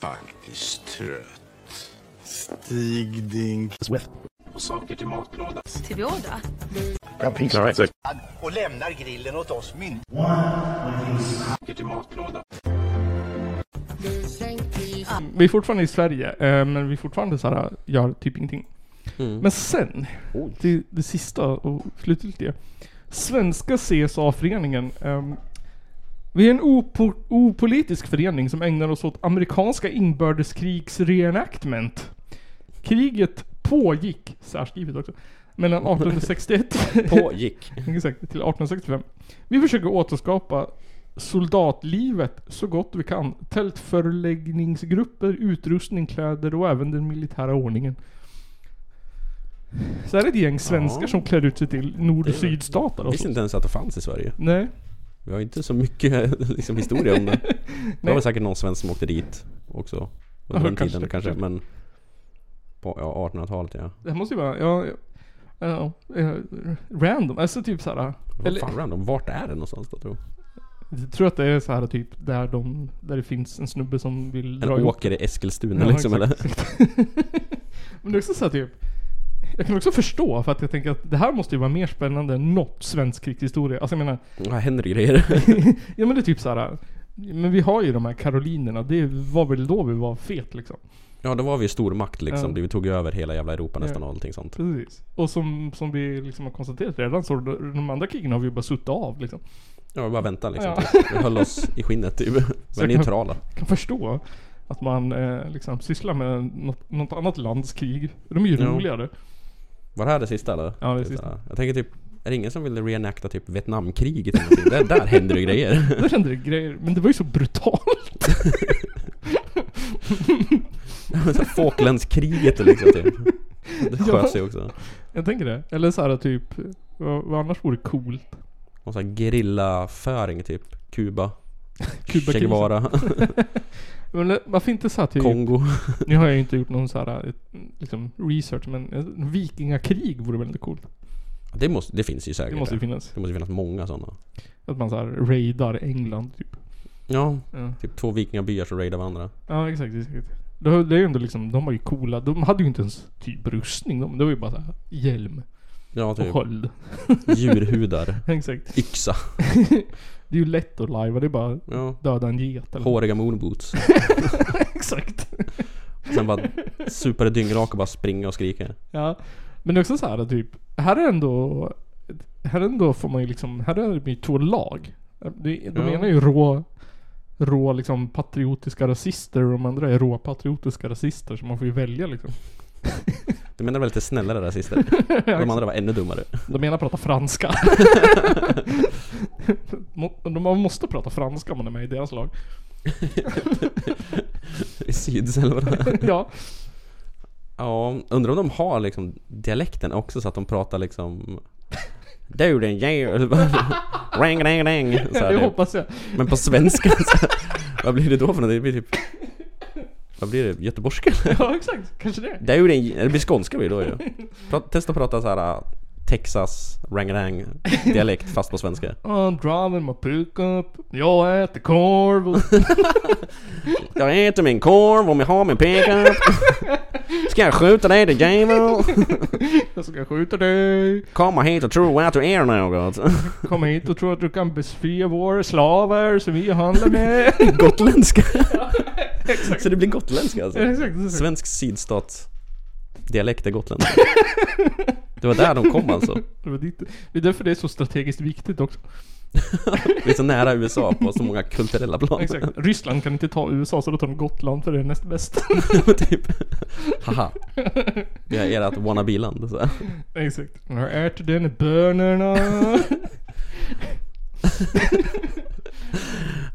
Speaker 5: Faktiskt trött. Stig din...
Speaker 8: till vi ålder?
Speaker 9: och lämnar grillen åt oss myndigheter.
Speaker 1: Vi är fortfarande i Sverige, eh, men vi är fortfarande så här, gör typ ingenting. Men sen, det, det sista och slutgiltiga. Svenska CSA-föreningen. ehm, vi är en opo- opolitisk förening som ägnar oss åt amerikanska inbördeskrigs reenactment. Kriget pågick, särskrivet också, mellan 1861
Speaker 2: Pågick.
Speaker 1: Exakt, till 1865. Vi försöker återskapa soldatlivet så gott vi kan. Tältförläggningsgrupper, utrustning, kläder och även den militära ordningen. Så här är det ett gäng svenskar
Speaker 2: Ja.
Speaker 1: som klär ut sig till nord och
Speaker 2: Det-
Speaker 1: sydstater
Speaker 2: Jag
Speaker 1: och
Speaker 2: visste
Speaker 1: så.
Speaker 2: inte ens att det fanns i Sverige.
Speaker 1: Nej.
Speaker 2: Vi har ju inte så mycket liksom, historia om det. Det var väl säkert någon svensk som åkte dit också. Under
Speaker 1: Ja,
Speaker 2: den
Speaker 1: kanske,
Speaker 2: tiden kanske,
Speaker 1: kanske.
Speaker 2: men... På ja, 1800-talet ja.
Speaker 1: Det här måste ju vara, ja, ja, ja, random. Alltså typ såhär.
Speaker 2: Vad
Speaker 1: Eller,
Speaker 2: fan random. Vart är det någonstans då tror
Speaker 1: jag tror att det är så här typ där de, där det finns en snubbe som vill
Speaker 2: du?
Speaker 1: dra
Speaker 2: En
Speaker 1: ihop
Speaker 2: åker i Eskilstuna
Speaker 1: Ja,
Speaker 2: liksom eller?
Speaker 1: exakt, exakt. Men det är också så här, typ. Jag kan också förstå för att jag tänker att det här måste ju vara mer spännande än något svensk krigshistoria. Alltså jag menar,
Speaker 2: Vad händer ju grejer?
Speaker 1: ja men det är typ så här. Men vi har ju de här karolinerna, det var väl då vi var fet liksom.
Speaker 2: Ja då var vi ju stormakt liksom.
Speaker 1: Ja.
Speaker 2: Det- Vi tog ju över hela jävla Europa nästan och allting sånt.
Speaker 1: Precis. Och som, som vi liksom har konstaterat redan så de andra krigen har vi ju bara suttit av liksom.
Speaker 2: Ja vi bara väntade liksom.
Speaker 1: Ja.
Speaker 2: typ. Vi höll oss i skinnet typ. Vi
Speaker 1: jag
Speaker 2: är
Speaker 1: kan-
Speaker 2: neutrala.
Speaker 1: Jag kan förstå att man eh, liksom sysslar med något, något annat lands krig. De är ju
Speaker 2: Ja.
Speaker 1: roligare.
Speaker 2: Var det här det sista eller?
Speaker 1: Ja, det
Speaker 2: Typ
Speaker 1: sista.
Speaker 2: sådär. Jag tänker typ, är det ingen som vill reenacta typ Vietnamkriget eller någonting? där, där händer ju grejer.
Speaker 1: Där hände det grejer, men det var ju så brutalt.
Speaker 2: Falklandskriget liksom typ. Det
Speaker 1: Ja.
Speaker 2: sköt sig också.
Speaker 1: Jag tänker det. Eller så här typ, vad, vad annars vore coolt?
Speaker 2: Någon sån här gerillaföring typ. Kuba.
Speaker 1: Kubakrisen.
Speaker 2: Che Guevara.
Speaker 1: Men varför inte så här typ,
Speaker 2: Kongo.
Speaker 1: nu har jag ju inte gjort någon så här eh, liksom research men eh, vikingakrig vore väldigt coolt.
Speaker 2: Det, måste, det finns ju säkert.
Speaker 1: Det måste ju finnas.
Speaker 2: det måste ju finnas många sådana.
Speaker 1: Att man så här raidar England typ.
Speaker 2: Ja,
Speaker 1: Ja,
Speaker 2: typ två vikingabyar som raidar varandra.
Speaker 1: ja exakt, exakt. Det har- det är ju ändå liksom, de var ju coola. De hade ju inte ens typ rustning. De, det var ju bara så här hjälm
Speaker 2: Ja,
Speaker 1: och
Speaker 2: typ
Speaker 1: sköld.
Speaker 2: djurhudar.
Speaker 1: Exakt.
Speaker 2: Yxa.
Speaker 1: Det är ju lätt att lajva. Det är bara
Speaker 2: Ja.
Speaker 1: döda en get eller
Speaker 2: Håriga moonboots.
Speaker 1: Exakt.
Speaker 2: Sen bara super dyngrak och bara springa och skrika.
Speaker 1: Ja. Men det är också så här typ, här är ändå, här ändå får man ju liksom, här är det ju två lag. De, de
Speaker 2: Ja.
Speaker 1: ena är ju rå, rå liksom patriotiska rasister och de andra är rå patriotiska rasister så man får ju välja liksom.
Speaker 2: Du menar väl lite snällare rasister? De andra var ännu dummare.
Speaker 1: De ena pratar franska. Må- de- man måste prata franska om man är med i deras lag.
Speaker 2: I sydselvarna.
Speaker 1: ja.
Speaker 2: Ja, undrar om de har liksom dialekten också så att de pratar liksom... Du den jävel... Rang, rang, rang. Så
Speaker 1: det
Speaker 2: här, typ.
Speaker 1: hoppas jag.
Speaker 2: Men på svenska så här, Vad blir det då för något? Det blir typ... Vad blir det? Göteborgska?
Speaker 1: Ja exakt, kanske det.
Speaker 2: Det, är ju den, det blir skånska blir det då ju. Pra- Testa att prata så här äh, Texas rangarang dialekt fast på svenska.
Speaker 1: I'm driving my pickup, jag äter korv och
Speaker 2: Jag äter min korv om jag har min pickup. Ska jag skjuta dig din jävel?
Speaker 1: jag ska skjuta dig.
Speaker 2: Komma hit och tro att du är något.
Speaker 1: Kom hit och tro att du kan befria våra slavar som vi handlar med.
Speaker 2: Gotländska. Så det blir gotländska alltså.
Speaker 1: Ja, exakt, exakt.
Speaker 2: Svensk sydstat dialekt är gotländska. Det var där de kom alltså.
Speaker 1: Det var ditt- Det är därför det är så strategiskt viktigt också.
Speaker 2: Vi är så nära USA på så många kulturella plan.
Speaker 1: Exakt. Ryssland kan inte ta USA så då tar de Gotland för det är näst bäst.
Speaker 2: typ. Haha. Vi är ert wannabe-land. så här.
Speaker 1: Exakt. Jag äter den bönorna.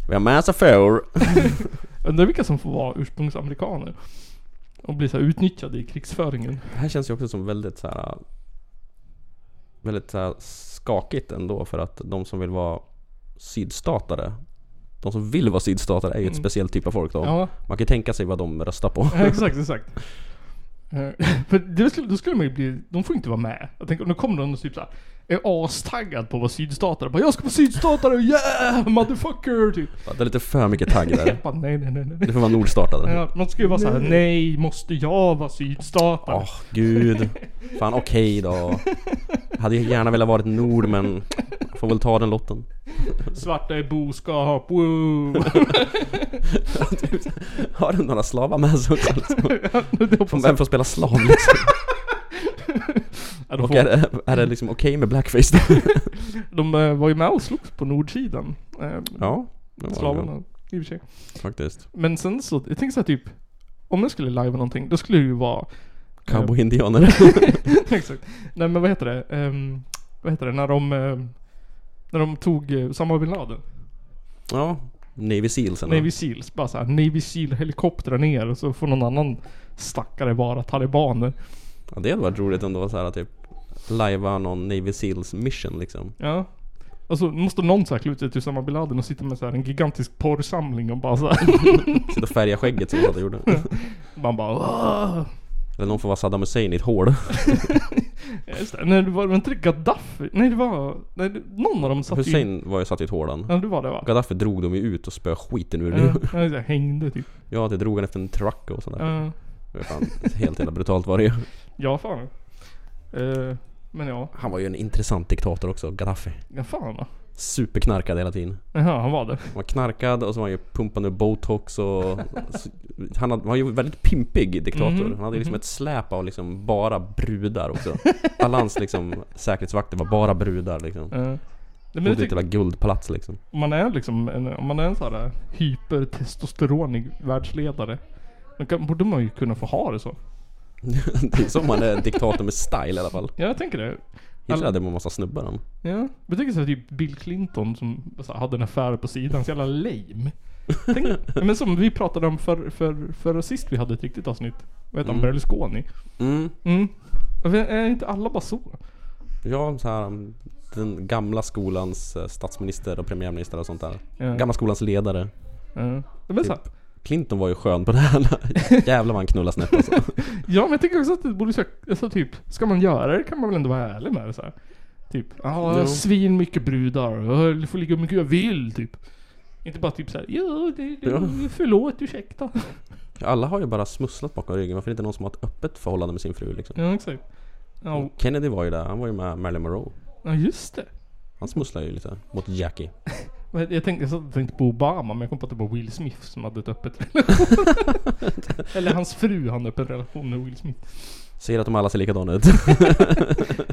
Speaker 2: Vi har massa får.
Speaker 1: Undrar vilka som får vara ursprungsamerikaner. Och bli så här utnyttjade i krigsföringen.
Speaker 2: Det här känns ju också som väldigt så här. äh, Väldigt så här skakigt ändå för att de som vill vara sydstatare. De som vill vara sydstatare är ju ett speciellt typ av folk då.
Speaker 1: Mm. Ja,
Speaker 2: Man kan ju tänka sig vad de röstar på.
Speaker 1: exakt, exakt. Eh, För det skulle, då skulle man ju bli, de får inte vara med. Jag tänker, nu kommer de och typ såhär, är astaggad på att vara sydstatare. Bara, jag ska vara sydstatare, yeah motherfucker! Typ.
Speaker 2: Det är lite för mycket tagg
Speaker 1: Jag
Speaker 2: där.
Speaker 1: bara, nej, nej, nej. nej.
Speaker 2: Det får vara nordstatare.
Speaker 1: Ja, man ska ju vara såhär, nej, måste jag vara
Speaker 2: Åh,
Speaker 1: sydstatare?
Speaker 2: gud. Fan, okej då. Jag hade ju gärna velat varit nord, men jag får väl ta den lotten.
Speaker 1: Svarta är boskap, wow.
Speaker 2: Har du några slavar med sig också? liksom?
Speaker 1: Det hoppas jag.
Speaker 2: Vem får spela slav liksom?
Speaker 1: Ja, de
Speaker 2: Och
Speaker 1: får-
Speaker 2: är det, är det liksom okej med blackface då?
Speaker 1: De eh, var ju med och slogs på nordsidan. Eh,
Speaker 2: Ja, det var det.
Speaker 1: Slavarna, i och för sig.
Speaker 2: Faktiskt.
Speaker 1: Men sen så, jag tänker såhär typ, om jag skulle lajva någonting, då skulle det ju vara
Speaker 2: Cowboy-indianer.
Speaker 1: Exakt. Nej men vad heter det? Ehm, vad heter det? När de... ehm, när de tog eh, Osama bin Laden.
Speaker 2: ja, Navy Sealsen.
Speaker 1: Navy Seals. Bara såhär Navy Seal-helikoptrar ner och så får någon annan stackare vara talibaner.
Speaker 2: Ja, det hade varit roligt ändå så här typ Lajva någon Navy Seals mission liksom.
Speaker 1: Ja. Och så måste någon såhär klä ut sig till Osama bin Laden och sitta med såhär en gigantisk porrsamling och bara såhär.
Speaker 2: Sitta och färga skägget som jag gjorde.
Speaker 1: Man bara "Åh!"
Speaker 2: Eller någon får vara Saddam Hussein i ett hål.
Speaker 1: Ja, Just det. Nej det var, var inte det Gaddafi? Nej det var... Nej, det- någon av dem satt ju...
Speaker 2: Hussein var ju satt i ett hål han.
Speaker 1: Ja det var det va?
Speaker 2: Gaddafi drog dem ju ut och spöade skiten ur
Speaker 1: Ja,
Speaker 2: nu.
Speaker 1: ja, just det. hängde typ.
Speaker 2: Ja, det drog han efter en truck och sådär.
Speaker 1: Ja.
Speaker 2: Det var Fan, helt jävla brutalt var det ju.
Speaker 1: Ja, fan. Eh, men ja,
Speaker 2: Han var ju en intressant diktator också, Gaddafi.
Speaker 1: ja fan då.
Speaker 2: Superknarkad hela tiden.
Speaker 1: Jaha, han var det.
Speaker 2: Han var knarkad och så var han ju pumpande botox och... s- Han hade- var ju väldigt pimpig diktator. Han hade ju liksom ett släp av liksom bara brudar också. Alla hans liksom säkerhetsvakter var bara brudar liksom.
Speaker 1: Eh, nej, men
Speaker 2: Bodde i
Speaker 1: jag
Speaker 2: ett
Speaker 1: tycker,
Speaker 2: jävla guldpalats liksom.
Speaker 1: om man är liksom en, om man är en sån här hypertestosteronig världsledare. Då kan, borde man ju kunna få ha det så.
Speaker 2: det är som han är en diktator med style i alla fall.
Speaker 1: Ja, jag tänker det.
Speaker 2: Hitler hade en massa snubbar han.
Speaker 1: Ja. Jag tänker såhär typ Bill Clinton som så här, hade en affär på sidan. Så jävla lame. Tänk, ja, men som vi pratade om för, för, förra sist vi hade ett riktigt avsnitt. Vad heter han?
Speaker 2: Mm.
Speaker 1: Berlusconi.
Speaker 2: Mm.
Speaker 1: Mm. Varför Är inte alla bara så?
Speaker 2: Ja, så här, um, den gamla skolans eh, statsminister och premiärminister och sånt där.
Speaker 1: Ja.
Speaker 2: Gamla skolans ledare.
Speaker 1: Ja. Men så här,
Speaker 2: Typ. Clinton var ju skön på det här. Jävlar vad han knullade snett alltså.
Speaker 1: Ja men jag tänker också att det borde söka, alltså typ, ska man göra det kan man väl ändå vara ärlig med det så här. Typ, ja jag har
Speaker 2: Jo.
Speaker 1: svin mycket brudar, jag får ligga hur mycket jag vill typ. Inte bara typ såhär, ja, det, det,
Speaker 2: Ja.
Speaker 1: förlåt, ursäkta.
Speaker 2: Alla har ju bara smusslat bakom ryggen. Varför är det inte någon som har ett öppet förhållande med sin fru liksom?
Speaker 1: Ja exakt. Ja,
Speaker 2: Kennedy var ju där. Han var ju med Marilyn Monroe.
Speaker 1: ja just det.
Speaker 2: Han smusslade ju lite mot Jackie.
Speaker 1: Men Jag tänkte, jag satt och tänkte på Obama men jag kom på att det var Will Smith som hade ett öppet relation. Eller hans fru hade öppen relation med Will Smith.
Speaker 2: Ser att de alla ser likadana ut.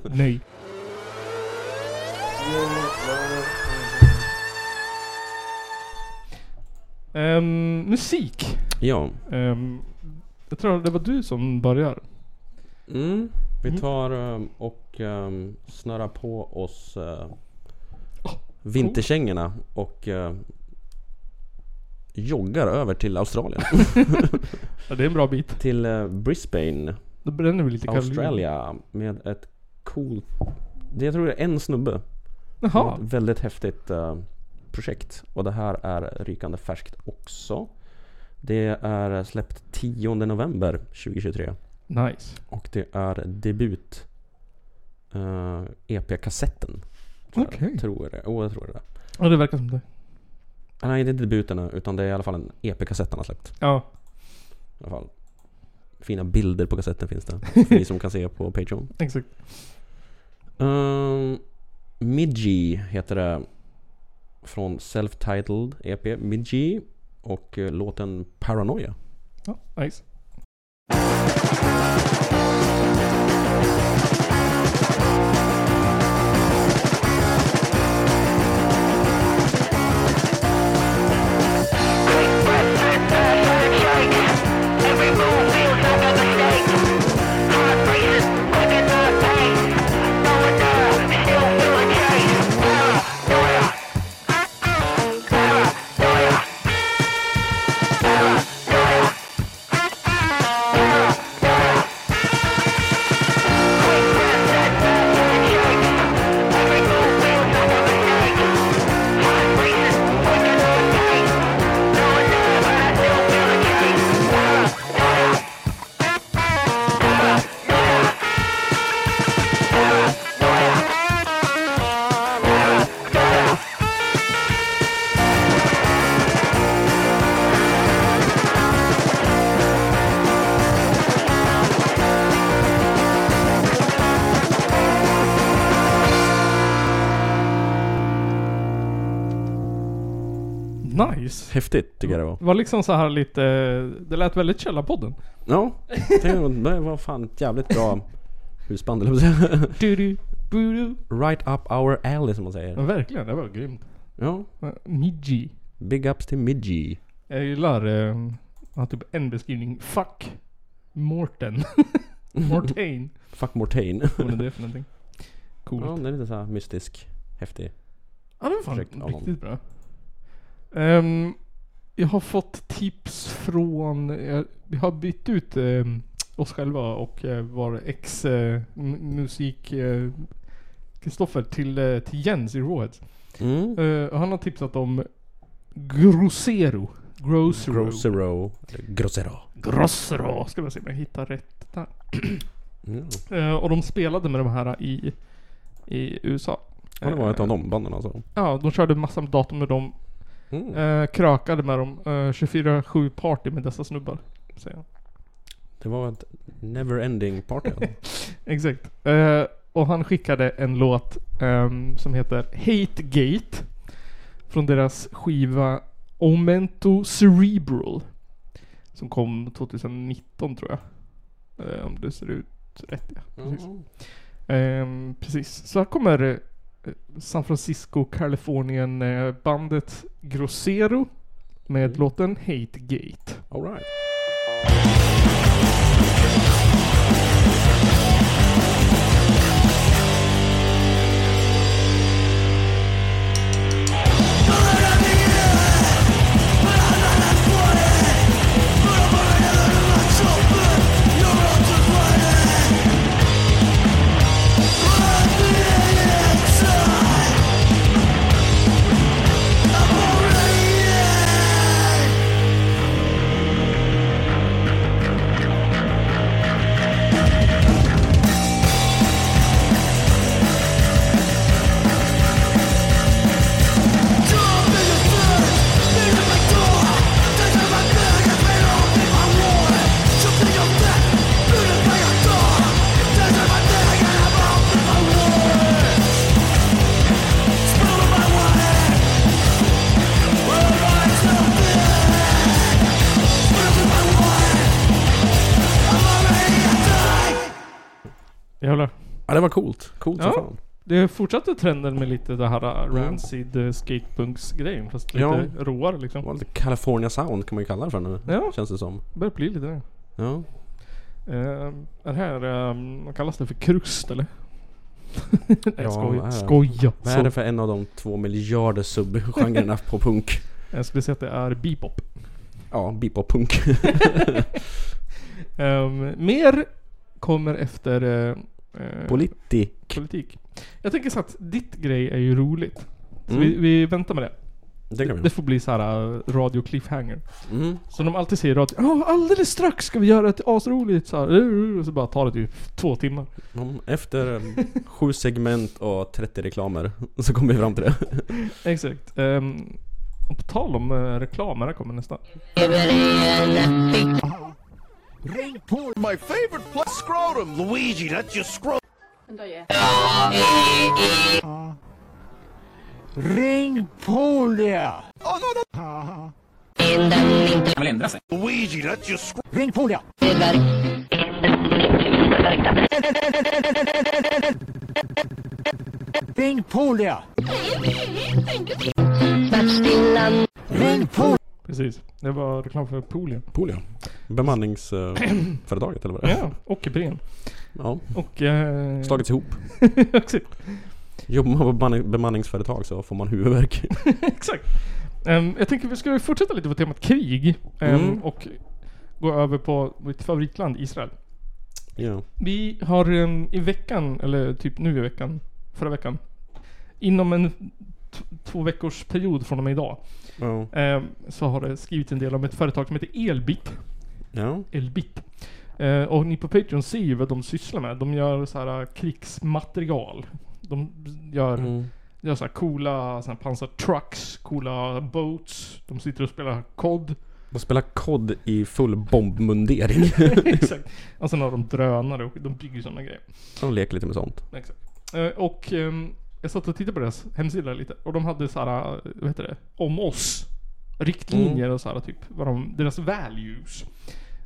Speaker 1: Nej. Ehm, musik.
Speaker 2: ja.
Speaker 1: Ehm, jag tror det var du som börjar.
Speaker 2: Mm. Vi tar um, och um, snurrar på oss uh, vinterkängorna och uh, joggar över till Australien.
Speaker 1: Ja, det är en bra bit.
Speaker 2: till eh, Brisbane,
Speaker 1: Då bränner vi lite kalorier.
Speaker 2: Australia med ett coolt... Det jag tror det är en snubbe. som har
Speaker 1: Jaha.
Speaker 2: Ett väldigt häftigt eh, projekt. Och det här är rykande färskt också. Det är släppt 10 november 2023.
Speaker 1: Nice.
Speaker 2: Och det är debut eh, EP-kassetten. tror jag.
Speaker 1: Okej.
Speaker 2: Tror jag det. Oh, jag tror det. är.
Speaker 1: Ja, det verkar som det.
Speaker 2: Ah, Nej, det är inte debuten än, utan det är i alla fall en EP-kassett han har släppt.
Speaker 1: Ja.
Speaker 2: I alla fall. Fina bilder på kassetten finns det. För ni som kan se på Patreon.
Speaker 1: Exakt.
Speaker 2: Um, Midgey heter det. Från Self-Titled EP, Midgey. Och eh, låten Paranoia.
Speaker 1: Ja, nice. Nice.
Speaker 2: Häftigt tycker jag det var.
Speaker 1: Det var liksom så här lite... Det lät väldigt Källarpodden.
Speaker 2: Ja, no, det var fan ett jävligt bra husband eller vad man säger.
Speaker 1: Du-du, bu-du.
Speaker 2: Right up our alley som
Speaker 1: Ja,
Speaker 2: man säger.
Speaker 1: verkligen. Det var grymt.
Speaker 2: Ja,
Speaker 1: Midji.
Speaker 2: big ups till Midgey.
Speaker 1: ehm, Jag gillar... Eh, han har typ en beskrivning. Fuck. Morten. Mortain.
Speaker 2: Fuck Mortain.
Speaker 1: Vad är det för någonting? Coolt.
Speaker 2: ja, den är lite så här mystisk, häftig.
Speaker 1: Ja, den var fan
Speaker 2: Projekt Avon.
Speaker 1: riktigt bra. Ehm, jag har fått tips från... Jag, vi har bytt ut ehm, oss själva och eh, vår eh, ex-musik... eh, Kristoffer till, eh, till Jens i Rawheads.
Speaker 2: Mm.
Speaker 1: Eh, och han har tipsat om Grosero. Grosero.
Speaker 2: Grossero. Grossero.
Speaker 1: Grosero. Ska vi se om jag hittar rätt där.
Speaker 2: Mm.
Speaker 1: Eh, och de spelade med de här i, i USA.
Speaker 2: Ja, det var ett av de banden alltså.
Speaker 1: Ja, de körde massor med datum med dem
Speaker 2: Mm.
Speaker 1: Eh, krökade med dem. Eh, 24-7 party med dessa snubbar. Säger han.
Speaker 2: Det var ett never-ending party. alltså.
Speaker 1: Exakt. Eh, och han skickade en låt ehm, som heter Hate Gate. Från deras skiva Omento Cerebral. Som kom 2019 tror jag. Eh, om det ser ut rätt ja. Precis.
Speaker 2: Mm.
Speaker 1: Ehm, precis. Så här kommer eh, San Francisco, Kalifornien eh, bandet Grosero. Med låten Hate Gate.
Speaker 2: All right.
Speaker 1: Jävlar.
Speaker 2: Ja, det var coolt. Coolt som
Speaker 1: Ja.
Speaker 2: fan.
Speaker 1: Det fortsatte trenden med lite det här rancid eh, skatepunks-grejen fast lite
Speaker 2: Ja.
Speaker 1: råare
Speaker 2: Det var
Speaker 1: liksom.
Speaker 2: lite California sound kan man ju kalla det för nu.
Speaker 1: Ja.
Speaker 2: Känns det som.
Speaker 1: Börjar bli lite det.
Speaker 2: Ja.
Speaker 1: Eh, det här, um, kallas det för krust eller? Nej
Speaker 2: Ja,
Speaker 1: jag skojar.
Speaker 2: vad är det?
Speaker 1: Skoja.
Speaker 2: Vad är det för en av de två miljarder subgenrerna på punk?
Speaker 1: Jag skulle säga att det är bebop.
Speaker 2: Ja, bebop-punk.
Speaker 1: Ehm, mer kommer efter eh, eh,
Speaker 2: Politti.
Speaker 1: politik. Jag tänker så att ditt grej är ju roligt. Så
Speaker 2: Mm.
Speaker 1: vi, vi väntar med det.
Speaker 2: Det kan
Speaker 1: Det
Speaker 2: vi.
Speaker 1: får bli så här eh, radio cliffhanger.
Speaker 2: Mm.
Speaker 1: Som de alltid säger i radio. Ja, alldeles strax ska vi göra ett asroligt så här. Och så bara tar det typ två timmar.
Speaker 2: Mm, Efter eh, sju segment och 30 reklamer så kommer vi fram till det.
Speaker 1: Exakt. Um, och på tal om eh, reklam, här kommer nästa.
Speaker 5: My favorite place, scrotum.
Speaker 9: Luigi, that's your scroll. Uh, Oh, Luigi, that's your scroll.
Speaker 1: Precis. Det var reklam för Polio.
Speaker 2: Polio. Bemanningsföretaget eh, eller vad det är.
Speaker 1: Ja, och Ipren.
Speaker 2: Ja.
Speaker 1: Och... eh,
Speaker 2: Slagits ihop.
Speaker 1: exakt.
Speaker 2: Jobbar man på bemanning- bemanningsföretag så får man huvudvärk.
Speaker 1: exakt. Ehm, jag tänker vi ska fortsätta lite på temat krig. ehm,
Speaker 2: Mm.
Speaker 1: Och gå över på mitt favoritland Israel.
Speaker 2: Ja.
Speaker 1: Vi har ehm, i veckan, eller typ nu i veckan, förra veckan. Inom en t- två veckors period från och med idag.
Speaker 2: Ja.
Speaker 1: ehm, så har det skrivits en del om ett företag som heter Elbit.
Speaker 2: Ja.
Speaker 1: Elbit. Eh, och ni på Patreon ser ju vad de sysslar med. De gör så här eh, krigsmaterial. De gör,
Speaker 2: Mm.
Speaker 1: gör så här coola så här pansartrucks, coola boats. De sitter och spelar COD.
Speaker 2: De spelar kod i full bombmundering.
Speaker 1: Exakt. Och sen har de drönare och de bygger sådana grejer.
Speaker 2: De leker lite med sånt.
Speaker 1: Exakt. Eh, och ehm, jag satt och tittade på deras hemsida lite och de hade så här, eh, vad heter det? Om oss. Riktlinjer och så här typ. Vad de, deras values.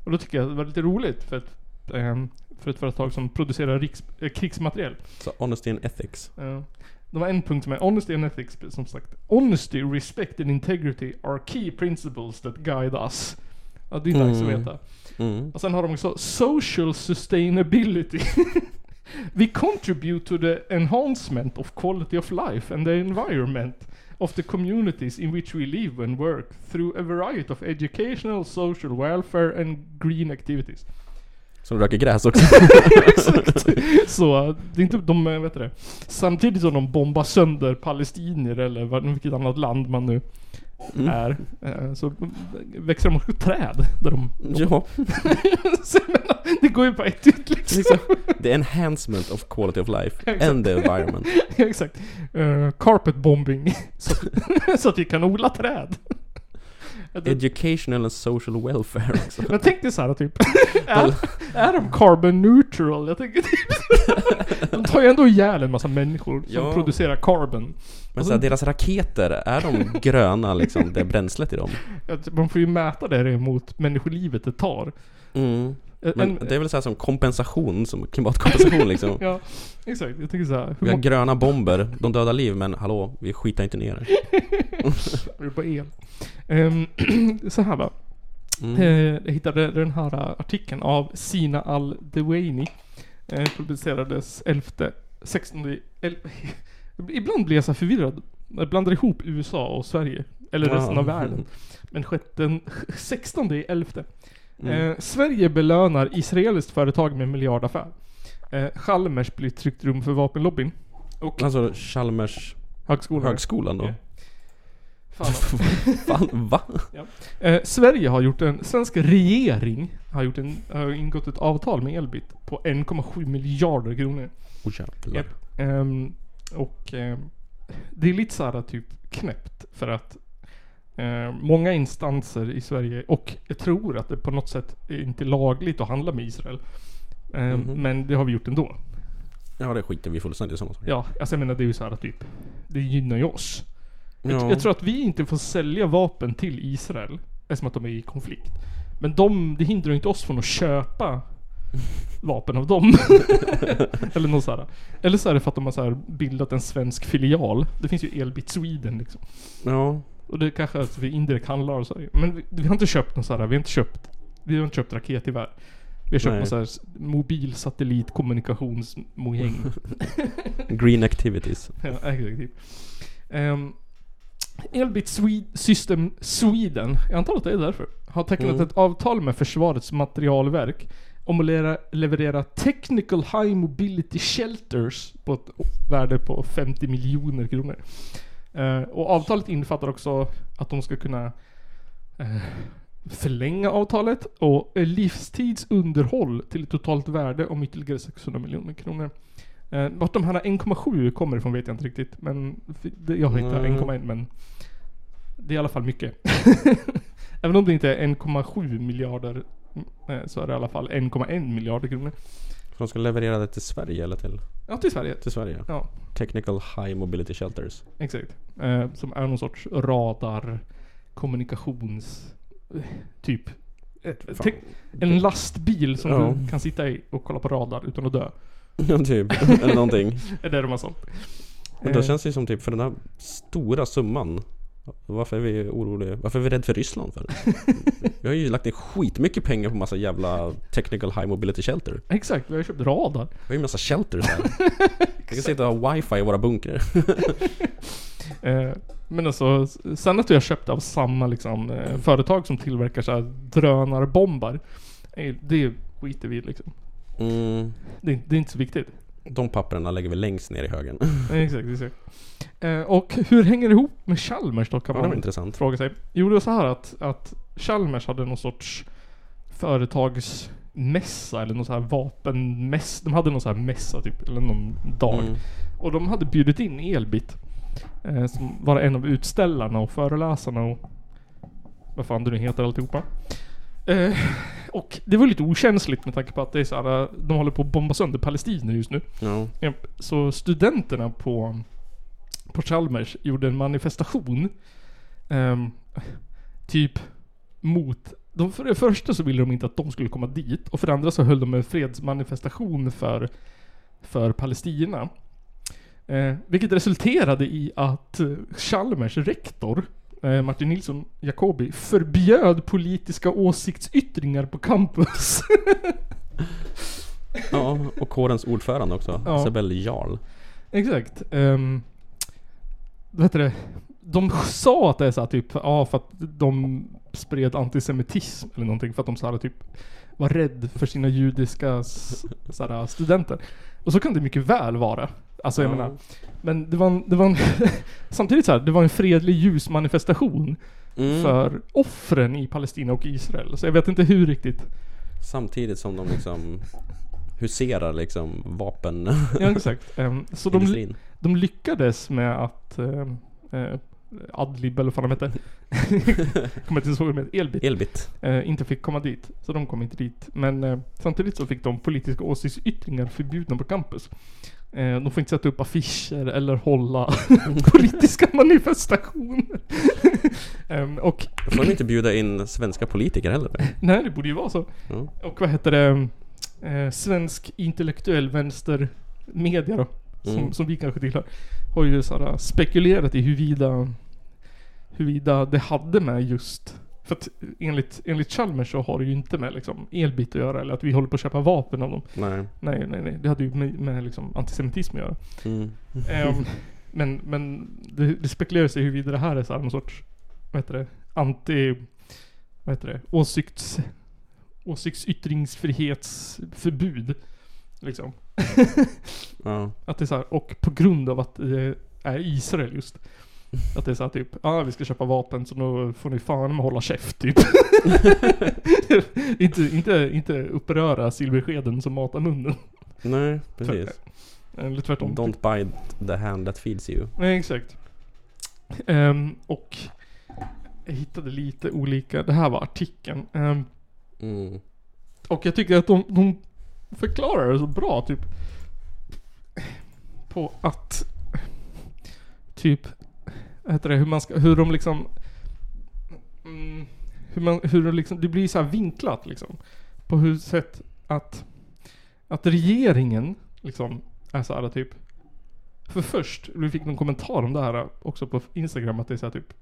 Speaker 1: Och då tycker jag det var lite roligt för ett, ehm, för ett företag som producerar riks, eh, krigsmateriel.
Speaker 2: Så honesty and ethics.
Speaker 1: Eh, det var en punkt som är Honesty and Ethics, som sagt. Honesty, respect and integrity are key principles that guide us. Ja, det är dags
Speaker 2: Mm.
Speaker 1: att veta.
Speaker 2: Mm.
Speaker 1: Och sen har de också social sustainability. We contribute to the enhancement of quality of life and the environment of the communities in which we live and work through a variety of educational, social welfare and green activities.
Speaker 2: Så de röker gräs också.
Speaker 1: Exakt. Så, det är inte de, eh, vet du det. Samtidigt som de bombar sönder palestinier eller vad- vilket annat land man nu
Speaker 2: Mm.
Speaker 1: är. eh, Så växer de också träd där de...
Speaker 2: ja,
Speaker 1: Så jag menar, det går ju på ett ut liksom.
Speaker 2: liksom. The enhancement of quality of life and the environment.
Speaker 1: Exakt. Eh, carpet bombing. så, så att vi kan odla träd.
Speaker 2: Educational and social welfare också.
Speaker 1: Jag tänkte så här typ. är, är de carbon neutral? Jag tänker typ. de tar ju ändå ihjäl en massa människor som
Speaker 2: Ja.
Speaker 1: producerar carbon.
Speaker 2: Men så här, deras raketer, är de gröna liksom, det bränslet i dem?
Speaker 1: Att Man får ju mäta det mot människolivet det tar. Eh,
Speaker 2: Mm.
Speaker 1: En-
Speaker 2: Men det är väl så här som kompensation, som klimatkompensation liksom.
Speaker 1: Ja, exakt. Jag tänker så här. Hur
Speaker 2: Vi har
Speaker 1: många
Speaker 2: gröna bomber, de dödar liv men hallå, vi skitar inte ner det.
Speaker 1: är det på el? Ehm, så här va.
Speaker 2: Mm.
Speaker 1: Eh, Jag hittade den här eh, artikeln av Sina Al-Dewaini. Eh, Publicerades 11, 16... El, ibland blir jag så här förvirrad. Jag blandar ihop USA och Sverige. Eller
Speaker 2: Ja.
Speaker 1: resten av världen. Men sjätte, 16 i 11.
Speaker 2: Mm.
Speaker 1: Eh, Sverige belönar israeliskt företag med miljardaffär. Eh, Chalmers blir tryggt rum för vapenlobbyn. Och
Speaker 2: Alltså Chalmers
Speaker 1: högskolan.
Speaker 2: högskolan då?
Speaker 1: Ja. Fan,
Speaker 2: Fan, va?
Speaker 1: Eh, Sverige har gjort en, svensk regering har, gjort en, har ingått ett avtal med Elbit på 1,7 miljarder kronor.
Speaker 2: Oh, jävlar.
Speaker 1: Japp. Ehm, och ehm, det är lite så här typ knäppt för att eh, många instanser i Sverige, och jag tror att det på något sätt är inte lagligt att handla med Israel. Ehm,
Speaker 2: Mhm.
Speaker 1: Men det har vi gjort ändå.
Speaker 2: Ja det skiter vi fullständigt i samma sak.
Speaker 1: Ja, alltså jag menar det är ju så här typ, det gynnar ju oss.
Speaker 2: Ja.
Speaker 1: Jag, jag tror att vi inte får sälja vapen till Israel eftersom att de är i konflikt. Men de, det hindrar ju inte oss från att köpa vapen av dem. Eller något sådär. Eller så är det för att de har så här bildat en svensk filial. Det finns ju Elbit Sweden liksom.
Speaker 2: ja.
Speaker 1: Och det kanske är att vi indirekt handlar och så. här. Men vi, vi har inte köpt något sådär, vi har inte köpt, vi har inte köpt raketgevär. Vi har köpt
Speaker 2: Nej.
Speaker 1: någon sån här s- mobil satellitkommunikationsmojäng.
Speaker 2: Green activities.
Speaker 1: Ja, exakt. Typ. Ehm, Elbit Swed System Sweden, jag antar att det är därför, har tecknat
Speaker 2: Mm.
Speaker 1: ett avtal med Försvarets materialverk om att lera, leverera Technical High Mobility Shelters på ett värde på 50 miljoner kronor. Eh, och avtalet innefattar också att de ska kunna eh, förlänga avtalet och eh, livstids underhåll till ett totalt värde om ytterligare 600 miljoner kronor. Eh, vart de här 1,7 kommer ifrån vet jag inte riktigt. Men f- det- jag har hittat
Speaker 2: Mm.
Speaker 1: 1,1 men det är i alla fall mycket. Även om det inte är 1,7 miljarder eh, så är det i alla fall 1,1 miljarder kronor.
Speaker 2: För de ska leverera det till Sverige eller till,
Speaker 1: Ja, till Sverige.
Speaker 2: till Sverige?
Speaker 1: Ja.
Speaker 2: Technical High Mobility Shelters.
Speaker 1: Exakt. Eh, som är någon sorts radar kommunikations... eh, Typ. Ett,
Speaker 2: Fan.
Speaker 1: tänk- en lastbil som
Speaker 2: Ja.
Speaker 1: du kan sitta i och kolla på radar utan att dö.
Speaker 2: Ja, typ. Eller någonting.
Speaker 1: Är det de har sålt.
Speaker 2: Men då
Speaker 1: Eh.
Speaker 2: känns det ju som typ för den här stora summan Varför är vi oroliga? Varför är vi rädda för Ryssland för? vi har ju lagt ner skitmycket pengar på massa jävla Technical High Mobility Shelter
Speaker 1: Exakt, vi har ju köpt radar.
Speaker 2: Vi har ju massa shelters här Vi kan sitta och ha wifi i våra bunkrar
Speaker 1: Eh, men alltså, s- sen att vi har köpt av samma liksom, eh, företag som tillverkar så här drönarbombar. eh, Det skiter vi i, liksom.
Speaker 2: mm,
Speaker 1: Det, är- det är inte så viktigt.
Speaker 2: De papperna lägger vi längst ner i högen
Speaker 1: Eh, exakt, exakt. Eh, och hur hänger det ihop med Chalmers då kan
Speaker 2: Ja, det
Speaker 1: man
Speaker 2: var intressant
Speaker 1: fråga sig. Jo det var så här att, att Chalmers hade någon sorts företagsmässa eller någon så här vapenmässa. De hade någon så här mässa typ, eller någon dag.
Speaker 2: Mm.
Speaker 1: Och de hade bjudit in Elbit. Eh, som var en av utställarna och föreläsarna och vad fan du nu heter alltihopa. Eh, och det var lite okänsligt med tanke på att det är så här, eh, de håller på att bomba sönder palestinier just nu.
Speaker 2: Ja,
Speaker 1: Japp, Så studenterna på, på Chalmers gjorde en manifestation. ehm, typ mot... De, för det första så ville de inte att de skulle komma dit. Och för det andra så höll de en fredsmanifestation för, för Ehm, Palestina. Eh, vilket resulterade i att eh, Chalmers rektor eh, Martin Nilsson, Jacobi, förbjöd politiska åsiktsyttringar på campus.
Speaker 2: Ja, och kårens ordförande också.
Speaker 1: Ja.
Speaker 2: Isabelle Jarl.
Speaker 1: Exakt. Um, vet du det? De sa att det är så här, typ, ja för att de spred antisemitism eller någonting för att de så här, typ var rädd för sina judiska s- så här, studenter. Och så kan det mycket väl vara. Alltså jag
Speaker 2: Ja.
Speaker 1: menar. Men det var en, det var en samtidigt så här, det var en fredlig ljusmanifestation
Speaker 2: Mm.
Speaker 1: för offren i Palestina och Israel. Så jag vet inte hur riktigt.
Speaker 2: Samtidigt som de liksom huserar liksom vapen
Speaker 1: Ja, exakt. Ehm, så de,
Speaker 2: industrin.
Speaker 1: De lyckades med att eh, eh, Adlib eller vad fan de hette. Kommer inte ihåg med Elbit.
Speaker 2: Elbit.
Speaker 1: Eh, inte fick komma dit. Så de kom inte dit. Men eh, samtidigt så fick de politiska åsiktsyttringar förbjudna på campus. Eh, de får inte sätta upp affischer eller hålla politiska manifestationer. Ehm, och
Speaker 2: Då får de inte bjuda in svenska politiker heller.
Speaker 1: nej, det borde ju vara så.
Speaker 2: Ja.
Speaker 1: Och vad heter det? Eh, svensk intellektuell vänster media då. Som,
Speaker 2: Mm.
Speaker 1: som vi kanske tillhör. Har ju såhär, spekulerat i huruvida huruvida det hade med just för att enligt, enligt Chalmers så har det ju inte med liksom elbit att göra eller att vi håller på att köpa vapen av dem.
Speaker 2: Nej.
Speaker 1: Nej, nej, nej. Det hade ju med, med liksom antisemitism att göra.
Speaker 2: Mm.
Speaker 1: Ehm, men men det, det spekuleras i huruvida det här är så här någon sorts, vad heter det, anti, vad heter det, åsikts, åsiktsyttringsfrihetsförbud. Liksom.
Speaker 2: Ja.
Speaker 1: Att det är så här, och på grund av att det är Israel just. Att det är så här typ, ja ah, vi ska köpa vapen så nu får ni fan med hålla käft typ. inte, inte, inte uppröra silverskeden som matar munnen.
Speaker 2: Nej, precis.
Speaker 1: Eller tvärtom.
Speaker 2: Don't bite the hand that feeds you.
Speaker 1: Nej, exakt. Ehm, och jag hittade lite olika, det här var artikeln. Ehm,
Speaker 2: Mm.
Speaker 1: och jag tycker att de, de förklarar det så bra typ. På att typ, vad heter det, hur man ska, hur de liksom mm, hur man, hur de liksom, det blir så här vinklat liksom. På hur sätt att att regeringen liksom är så här typ för först, vi fick någon kommentar om det här också på Instagram att det är så här typ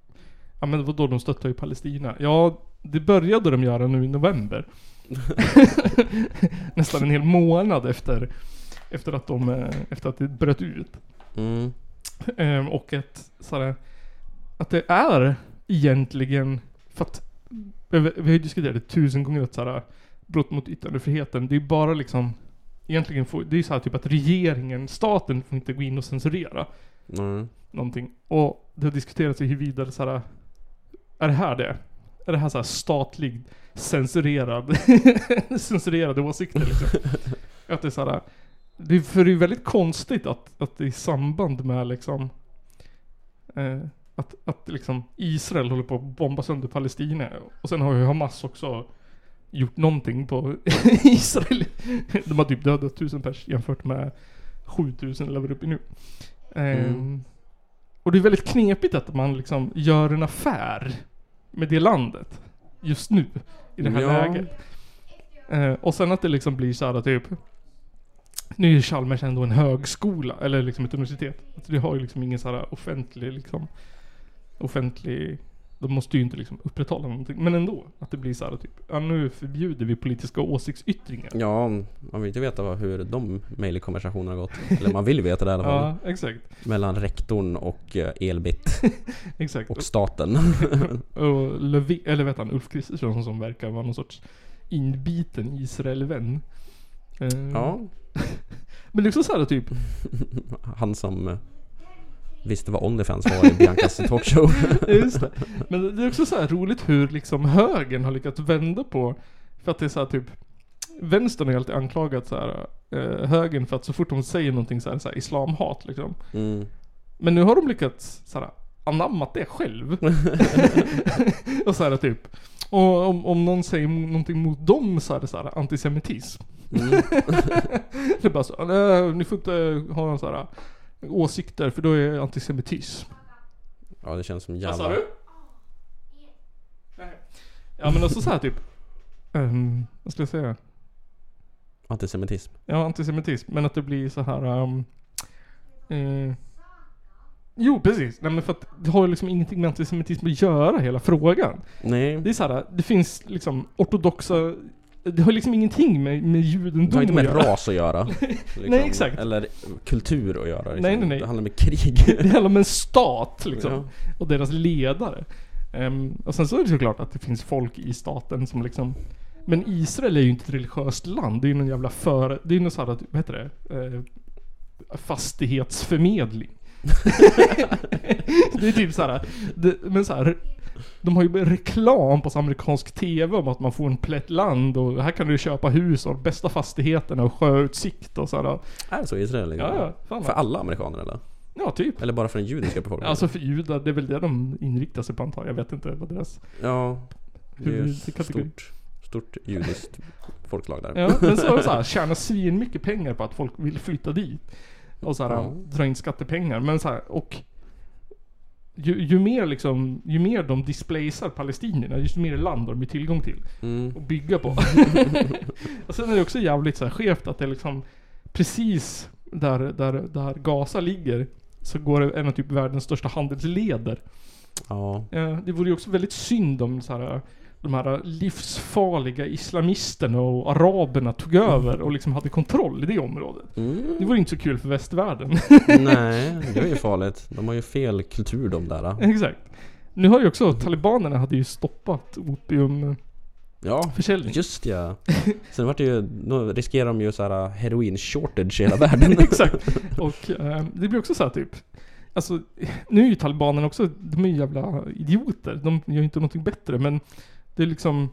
Speaker 1: Ja men vadå de stöttar ju Palestina? Ja, det började de göra nu i november. Nästan en hel månad efter, efter, att, de, eh, efter att det bröt ut.
Speaker 2: Mm.
Speaker 1: Ehm, och att, sådär, att det är egentligen, för att vi vi har ju diskuterat det tusen gånger att sådär, brott mot yttrandefriheten, det är bara liksom Egentligen får, det är ju såhär typ att regeringen, staten får inte gå in och censurera
Speaker 2: Nej.
Speaker 1: någonting. Och det har diskuterats i huruvida det såhär, är det här det? Är det här såhär statlig censurerad, censurerade åsikter liksom? att det är såhär, det är, för det är väldigt konstigt att, att det är i samband med liksom, eh, att, att liksom Israel håller på att bomba sönder Palestina. Och sen har ju Hamas också gjort någonting på Israel. De har typ dödat tusen pers jämfört med 7000 eller vad det är uppe i nu. Ehm,
Speaker 2: Mm.
Speaker 1: Och det är väldigt knepigt att man liksom gör en affär med det landet. Just nu. I det här
Speaker 2: Ja.
Speaker 1: läget. Eh, och sen att det liksom blir såhär typ Nu är Chalmers ändå en högskola eller liksom ett universitet. Alltså det har ju liksom ingen såhär offentlig liksom Offentlig De måste ju inte liksom upprätthålla någonting. Men ändå. Att det blir såhär typ Ja nu förbjuder vi politiska åsiktsyttringar.
Speaker 2: Ja, man vill inte veta vad- hur de mejlkonversationerna har gått. Eller man vill veta det i alla fall.
Speaker 1: Ja, exakt.
Speaker 2: Mellan rektorn och eh, Elbit
Speaker 1: Exakt.
Speaker 2: och staten.
Speaker 1: Och Löfven, eller vet han, Ulf Kristersson som verkar vara någon sorts inbiten Israelvän. Eh,
Speaker 2: ja,
Speaker 1: Men det är också såhär typ,
Speaker 2: han som eh, visste vad Onlyfans var i Biancas talkshow.
Speaker 1: Ja, Just det. Men det är också så här roligt hur liksom högern har lyckats vända på, för att det är så här typ, vänstern har ju alltid anklagat så här, eh, högern för att så fort de säger någonting så här, så här islamhat liksom.
Speaker 2: Mm.
Speaker 1: Men nu har de lyckats så här, anammat det själv. och så här typ, och om, om någon säger mo- någonting mot dem så är det så här antisemitism. det är bara så, "Nej, ni får inte ha så här åsikter för då är det antisemitism.
Speaker 2: Ja, det känns som
Speaker 1: Vad
Speaker 2: jävla...
Speaker 1: sa du? Nej. Ja men också så här typ. ehm, vad ska jag säga?
Speaker 2: Antisemitism.
Speaker 1: Ja antisemitism. Men att det blir så här. ehm, eh, Jo, precis. Nej, men för att det har ju liksom ingenting med antisemitism att göra, hela frågan.
Speaker 2: Nej.
Speaker 1: Det är så här, det finns liksom ortodoxa... Det har liksom ingenting med, med
Speaker 2: Det har inte
Speaker 1: judendom
Speaker 2: med ras att göra. liksom.
Speaker 1: Nej, exakt.
Speaker 2: Eller kultur att göra. Liksom.
Speaker 1: Nej, nej, nej.
Speaker 2: Det handlar med krig.
Speaker 1: Det handlar om en stat liksom.
Speaker 2: Ja.
Speaker 1: Och deras ledare. Ehm, och sen så är det såklart att det finns folk i staten som liksom... Men Israel är ju inte ett religiöst land. Det är ju någon jävla för... Det är ju någon sån här, vad heter det? Eh, fastighetsförmedling. det är typ såhär, det, men såhär. De har ju reklam på så amerikansk TV om att man får en plätt land och här kan du köpa hus och bästa fastigheterna och sjöutsikt och sådär.
Speaker 2: Är det så i Israel? liksom?
Speaker 1: Ja, ja, fan.
Speaker 2: för alla amerikaner eller?
Speaker 1: Ja, typ.
Speaker 2: Eller bara för den judiska befolkningen?
Speaker 1: Alltså för judar, det är väl det de inriktar sig på antar jag. Jag vet inte vad deras...
Speaker 2: ja, det är ju
Speaker 1: Huvudkategori.
Speaker 2: stort, stort judiskt folklag där.
Speaker 1: Ja, men så är det såhär, tjänar svin mycket pengar på att folk vill flytta dit. Och såhär,
Speaker 2: Ja.
Speaker 1: dra in skattepengar. Men såhär, och... Ju, ju mer liksom, ju mer de displacear palestinierna, ju mer land har de ju tillgång till.
Speaker 2: Mm.
Speaker 1: Att bygga på. och sen är det också jävligt såhär skevt att det är liksom precis där, där, där Gaza ligger. Så går det en av typ världens största handelsleder.
Speaker 2: ja.
Speaker 1: Eh, Det vore ju också väldigt synd om så här, de här livsfarliga islamisterna och araberna tog över och liksom hade kontroll i det området. Det vore inte så kul för västvärlden.
Speaker 2: Nej, det är ju farligt. De har ju fel kultur de där.
Speaker 1: Exakt. Nu har ju också talibanerna hade ju stoppat opiumförsäljning.
Speaker 2: Ja, just ja. Sen vart det ju, nu riskerar de ju så här äh, heroin shortage i hela världen.
Speaker 1: Exakt. Och eh, det blir också så här typ. Alltså, nu är ju talibanerna också, de är ju jävla idioter. De gör ju inte någonting bättre men det är liksom...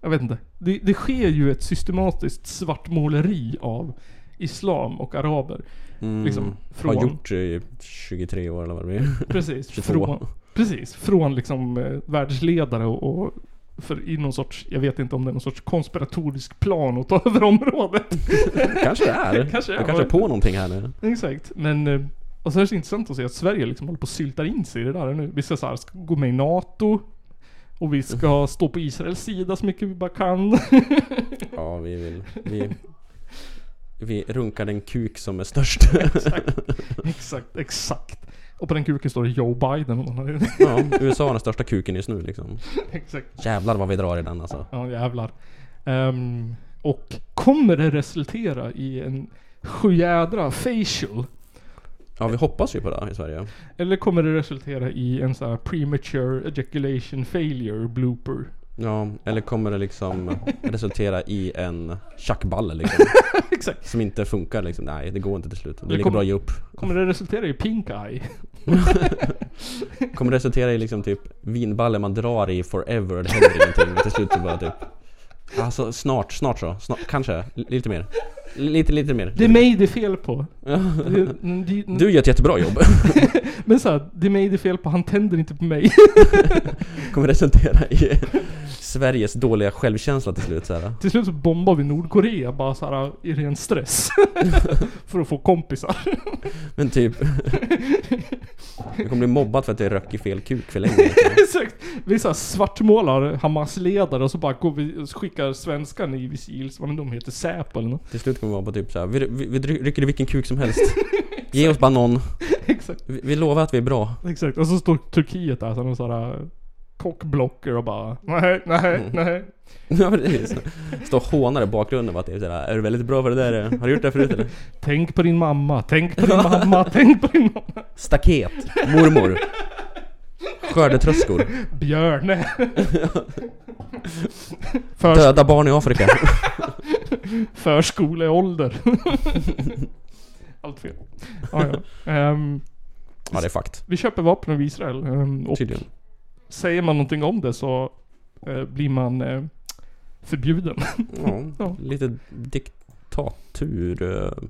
Speaker 1: Jag vet inte. Det, det sker ju ett systematiskt svartmåleri av islam och araber.
Speaker 2: Mm.
Speaker 1: Liksom, från...
Speaker 2: Har gjort i 23 år eller vad det blir.
Speaker 1: Precis.
Speaker 2: 22.
Speaker 1: Från, precis. Från liksom eh, världsledare och, och för i någon sorts, jag vet inte om det är någon sorts konspiratorisk plan att ta över området.
Speaker 2: Kanske det är.
Speaker 1: Kanske det är.
Speaker 2: Jag kanske är på någonting här nu.
Speaker 1: Exakt, men... eh, Och så är det så intressant att se att Sverige liksom håller på och syltar in sig i det där nu. Vi ska, så här, ska gå med i NATO. Och vi ska stå på Israels sida så mycket vi bara kan.
Speaker 2: Ja, vi vill. Vi, vi runkar den kuk som är störst.
Speaker 1: exakt, exakt. Och på den kuken står det Joe Biden. Och man har,
Speaker 2: Ja, USA har den största kuken just nu liksom.
Speaker 1: exakt.
Speaker 2: Jävlar vad vi drar i den alltså.
Speaker 1: Ja, jävlar. Ehm, och kommer det resultera i en sjujädra facial?
Speaker 2: Ja, vi hoppas ju på det i Sverige.
Speaker 1: Eller kommer det resultera i en så här premature ejaculation failure blooper?
Speaker 2: Ja, eller kommer det liksom resultera i en tjackballe liksom?
Speaker 1: Exakt.
Speaker 2: Som inte funkar liksom. Nej, det går inte till slut. Det är lika
Speaker 1: kommer-
Speaker 2: bra att ge upp.
Speaker 1: Kommer det resultera i pink eye?
Speaker 2: Kommer resultera i liksom typ vinballe man drar i forever. Det händer ingenting. Men till slut så bara typ... Alltså snart, snart så. Snart, kanske. L- lite mer. L- lite, lite mer.
Speaker 1: Det är mig det är fel på. Det- det-
Speaker 2: Du gör ett jättebra jobb.
Speaker 1: Men såhär, det är mig det är fel på, han tänder inte på mig.
Speaker 2: Kommer resultera i Sveriges dåliga självkänsla till slut så här.
Speaker 1: Till slut så bombar vi Nordkorea bara såhär i ren stress. för att få kompisar.
Speaker 2: Men typ... Jag kommer bli mobbad för att jag röck i fel kuk för länge. liksom.
Speaker 1: Exakt. Vi såhär svartmålar Hamas ledare och så bara går vi och skickar svenskarna i Visils, vad men de heter, Säpo eller nåt.
Speaker 2: Till slut kommer vi vara på typ såhär, vi, vi, vi rycker i vilken kuk som helst. Ge oss bara någon.
Speaker 1: Exakt.
Speaker 2: Vi, vi lovar att vi är bra.
Speaker 1: Exakt. Och så står Turkiet där som någon sån här kockblocker och bara nej, nej, nej.
Speaker 2: Ja, precis. Stå och hånar i bakgrunden bara typ såhär, är du väldigt bra på det där? eller? Har du gjort det här förut eller?
Speaker 1: Tänk på din mamma, tänk på din mamma, tänk på din mamma.
Speaker 2: Staket, mormor. Skördetröskor.
Speaker 1: Björne. Förs
Speaker 2: Döda barn i Afrika.
Speaker 1: förskoleålder. Allt fel. Ja, ja. Ehm,
Speaker 2: Ja, det är fakt.
Speaker 1: vi köper vapen av Israel. ehm, och
Speaker 2: Tydligen.
Speaker 1: säger man någonting om det så eh, blir man eh, förbjuden.
Speaker 2: Ja, lite diktatur. eh.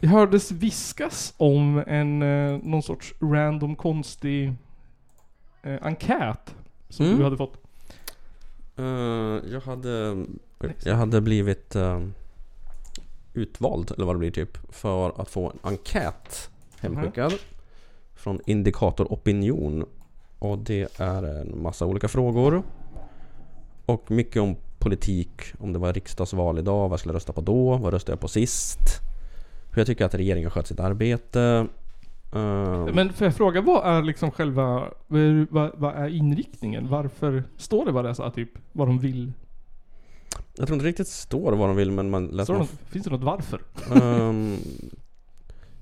Speaker 1: Det hördes viskas om en eh, någon sorts random konstig eh, enkät som
Speaker 2: Mm.
Speaker 1: du hade fått.
Speaker 2: Eh, jag hade... Jag hade blivit eh, utvald, eller vad det blir typ, för att få en enkät hemskickad.
Speaker 1: Mhm.
Speaker 2: Från Indikator Opinion. Och det är en massa olika frågor. Och mycket om politik, om det var riksdagsval idag, vad jag skulle rösta på då, vad röstade jag på sist? Hur jag tycker att regeringen sköt sitt arbete. Ehm,
Speaker 1: Men får jag fråga, vad är liksom själva, vad, vad är inriktningen? Varför står det bara det så här, typ, vad de vill?
Speaker 2: jag tror inte riktigt står vad de vill men man läser
Speaker 1: Står det
Speaker 2: man
Speaker 1: något, finns det något varför?
Speaker 2: Ehm,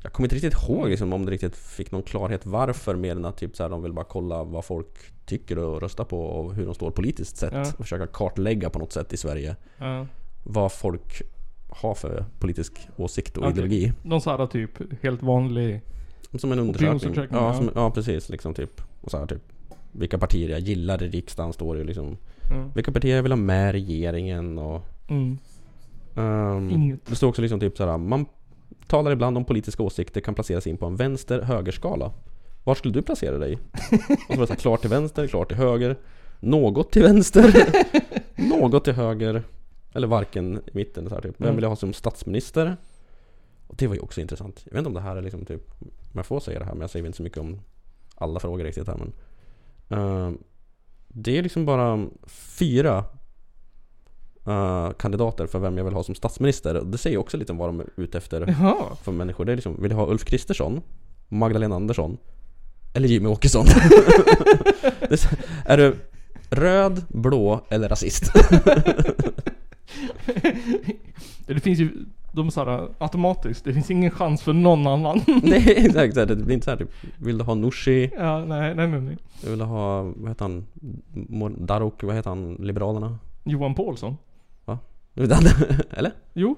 Speaker 2: jag kommer inte riktigt ihåg liksom, om det riktigt fick någon klarhet varför mer än att typ, så här, de vill bara kolla vad folk tycker och röstar på och hur de står politiskt sett.
Speaker 1: Ja.
Speaker 2: Och försöka kartlägga på något sätt i Sverige
Speaker 1: Ja.
Speaker 2: vad folk har för politisk åsikt och
Speaker 1: Okej.
Speaker 2: ideologi.
Speaker 1: Någon så här typ, helt vanlig...
Speaker 2: Som en undersökning.
Speaker 1: Opinionsundersökning,
Speaker 2: Ja,
Speaker 1: ja.
Speaker 2: som, ja, precis. Liksom, typ. Och så här, typ. Vilka partier jag gillar i riksdagen står det ju liksom.
Speaker 1: Mm.
Speaker 2: Vilka partier jag vill ha med i regeringen och...
Speaker 1: Mm.
Speaker 2: ehm,
Speaker 1: Inget.
Speaker 2: Det står också liksom typ så här, man talar ibland om politiska åsikter kan placeras in på en vänster-högerskala. Var skulle du placera dig? Och så var det så här, klart till vänster, klart till höger, något till vänster, något till höger, eller varken i mitten. Så här, typ. Vem vill jag ha som statsminister? Och det var ju också intressant. Jag vet inte om det här är liksom typ, om jag får säga det här, men jag säger väl inte så mycket om alla frågor riktigt här. Men, eh, det är liksom bara fyra eh, kandidater för vem jag vill ha som statsminister. Och Det säger ju också lite om vad de är ute efter
Speaker 1: Jaha.
Speaker 2: för människor. Det är liksom, vill jag ha Ulf Kristersson? Magdalena Andersson? Eller Jimmy Åkesson? det är, så- är du röd, blå eller rasist?
Speaker 1: det finns ju, de är så här, automatiskt, det finns ingen chans för någon annan.
Speaker 2: Nej, exakt. så här, Det blir inte så här typ, vill du ha Nooshi?
Speaker 1: ja, nej, nej, nej, nej.
Speaker 2: Vill du ha, vad heter han, Mor- Daruk, vad heter han, Liberalerna?
Speaker 1: Johan Paulsson?
Speaker 2: Eller?
Speaker 1: Jo?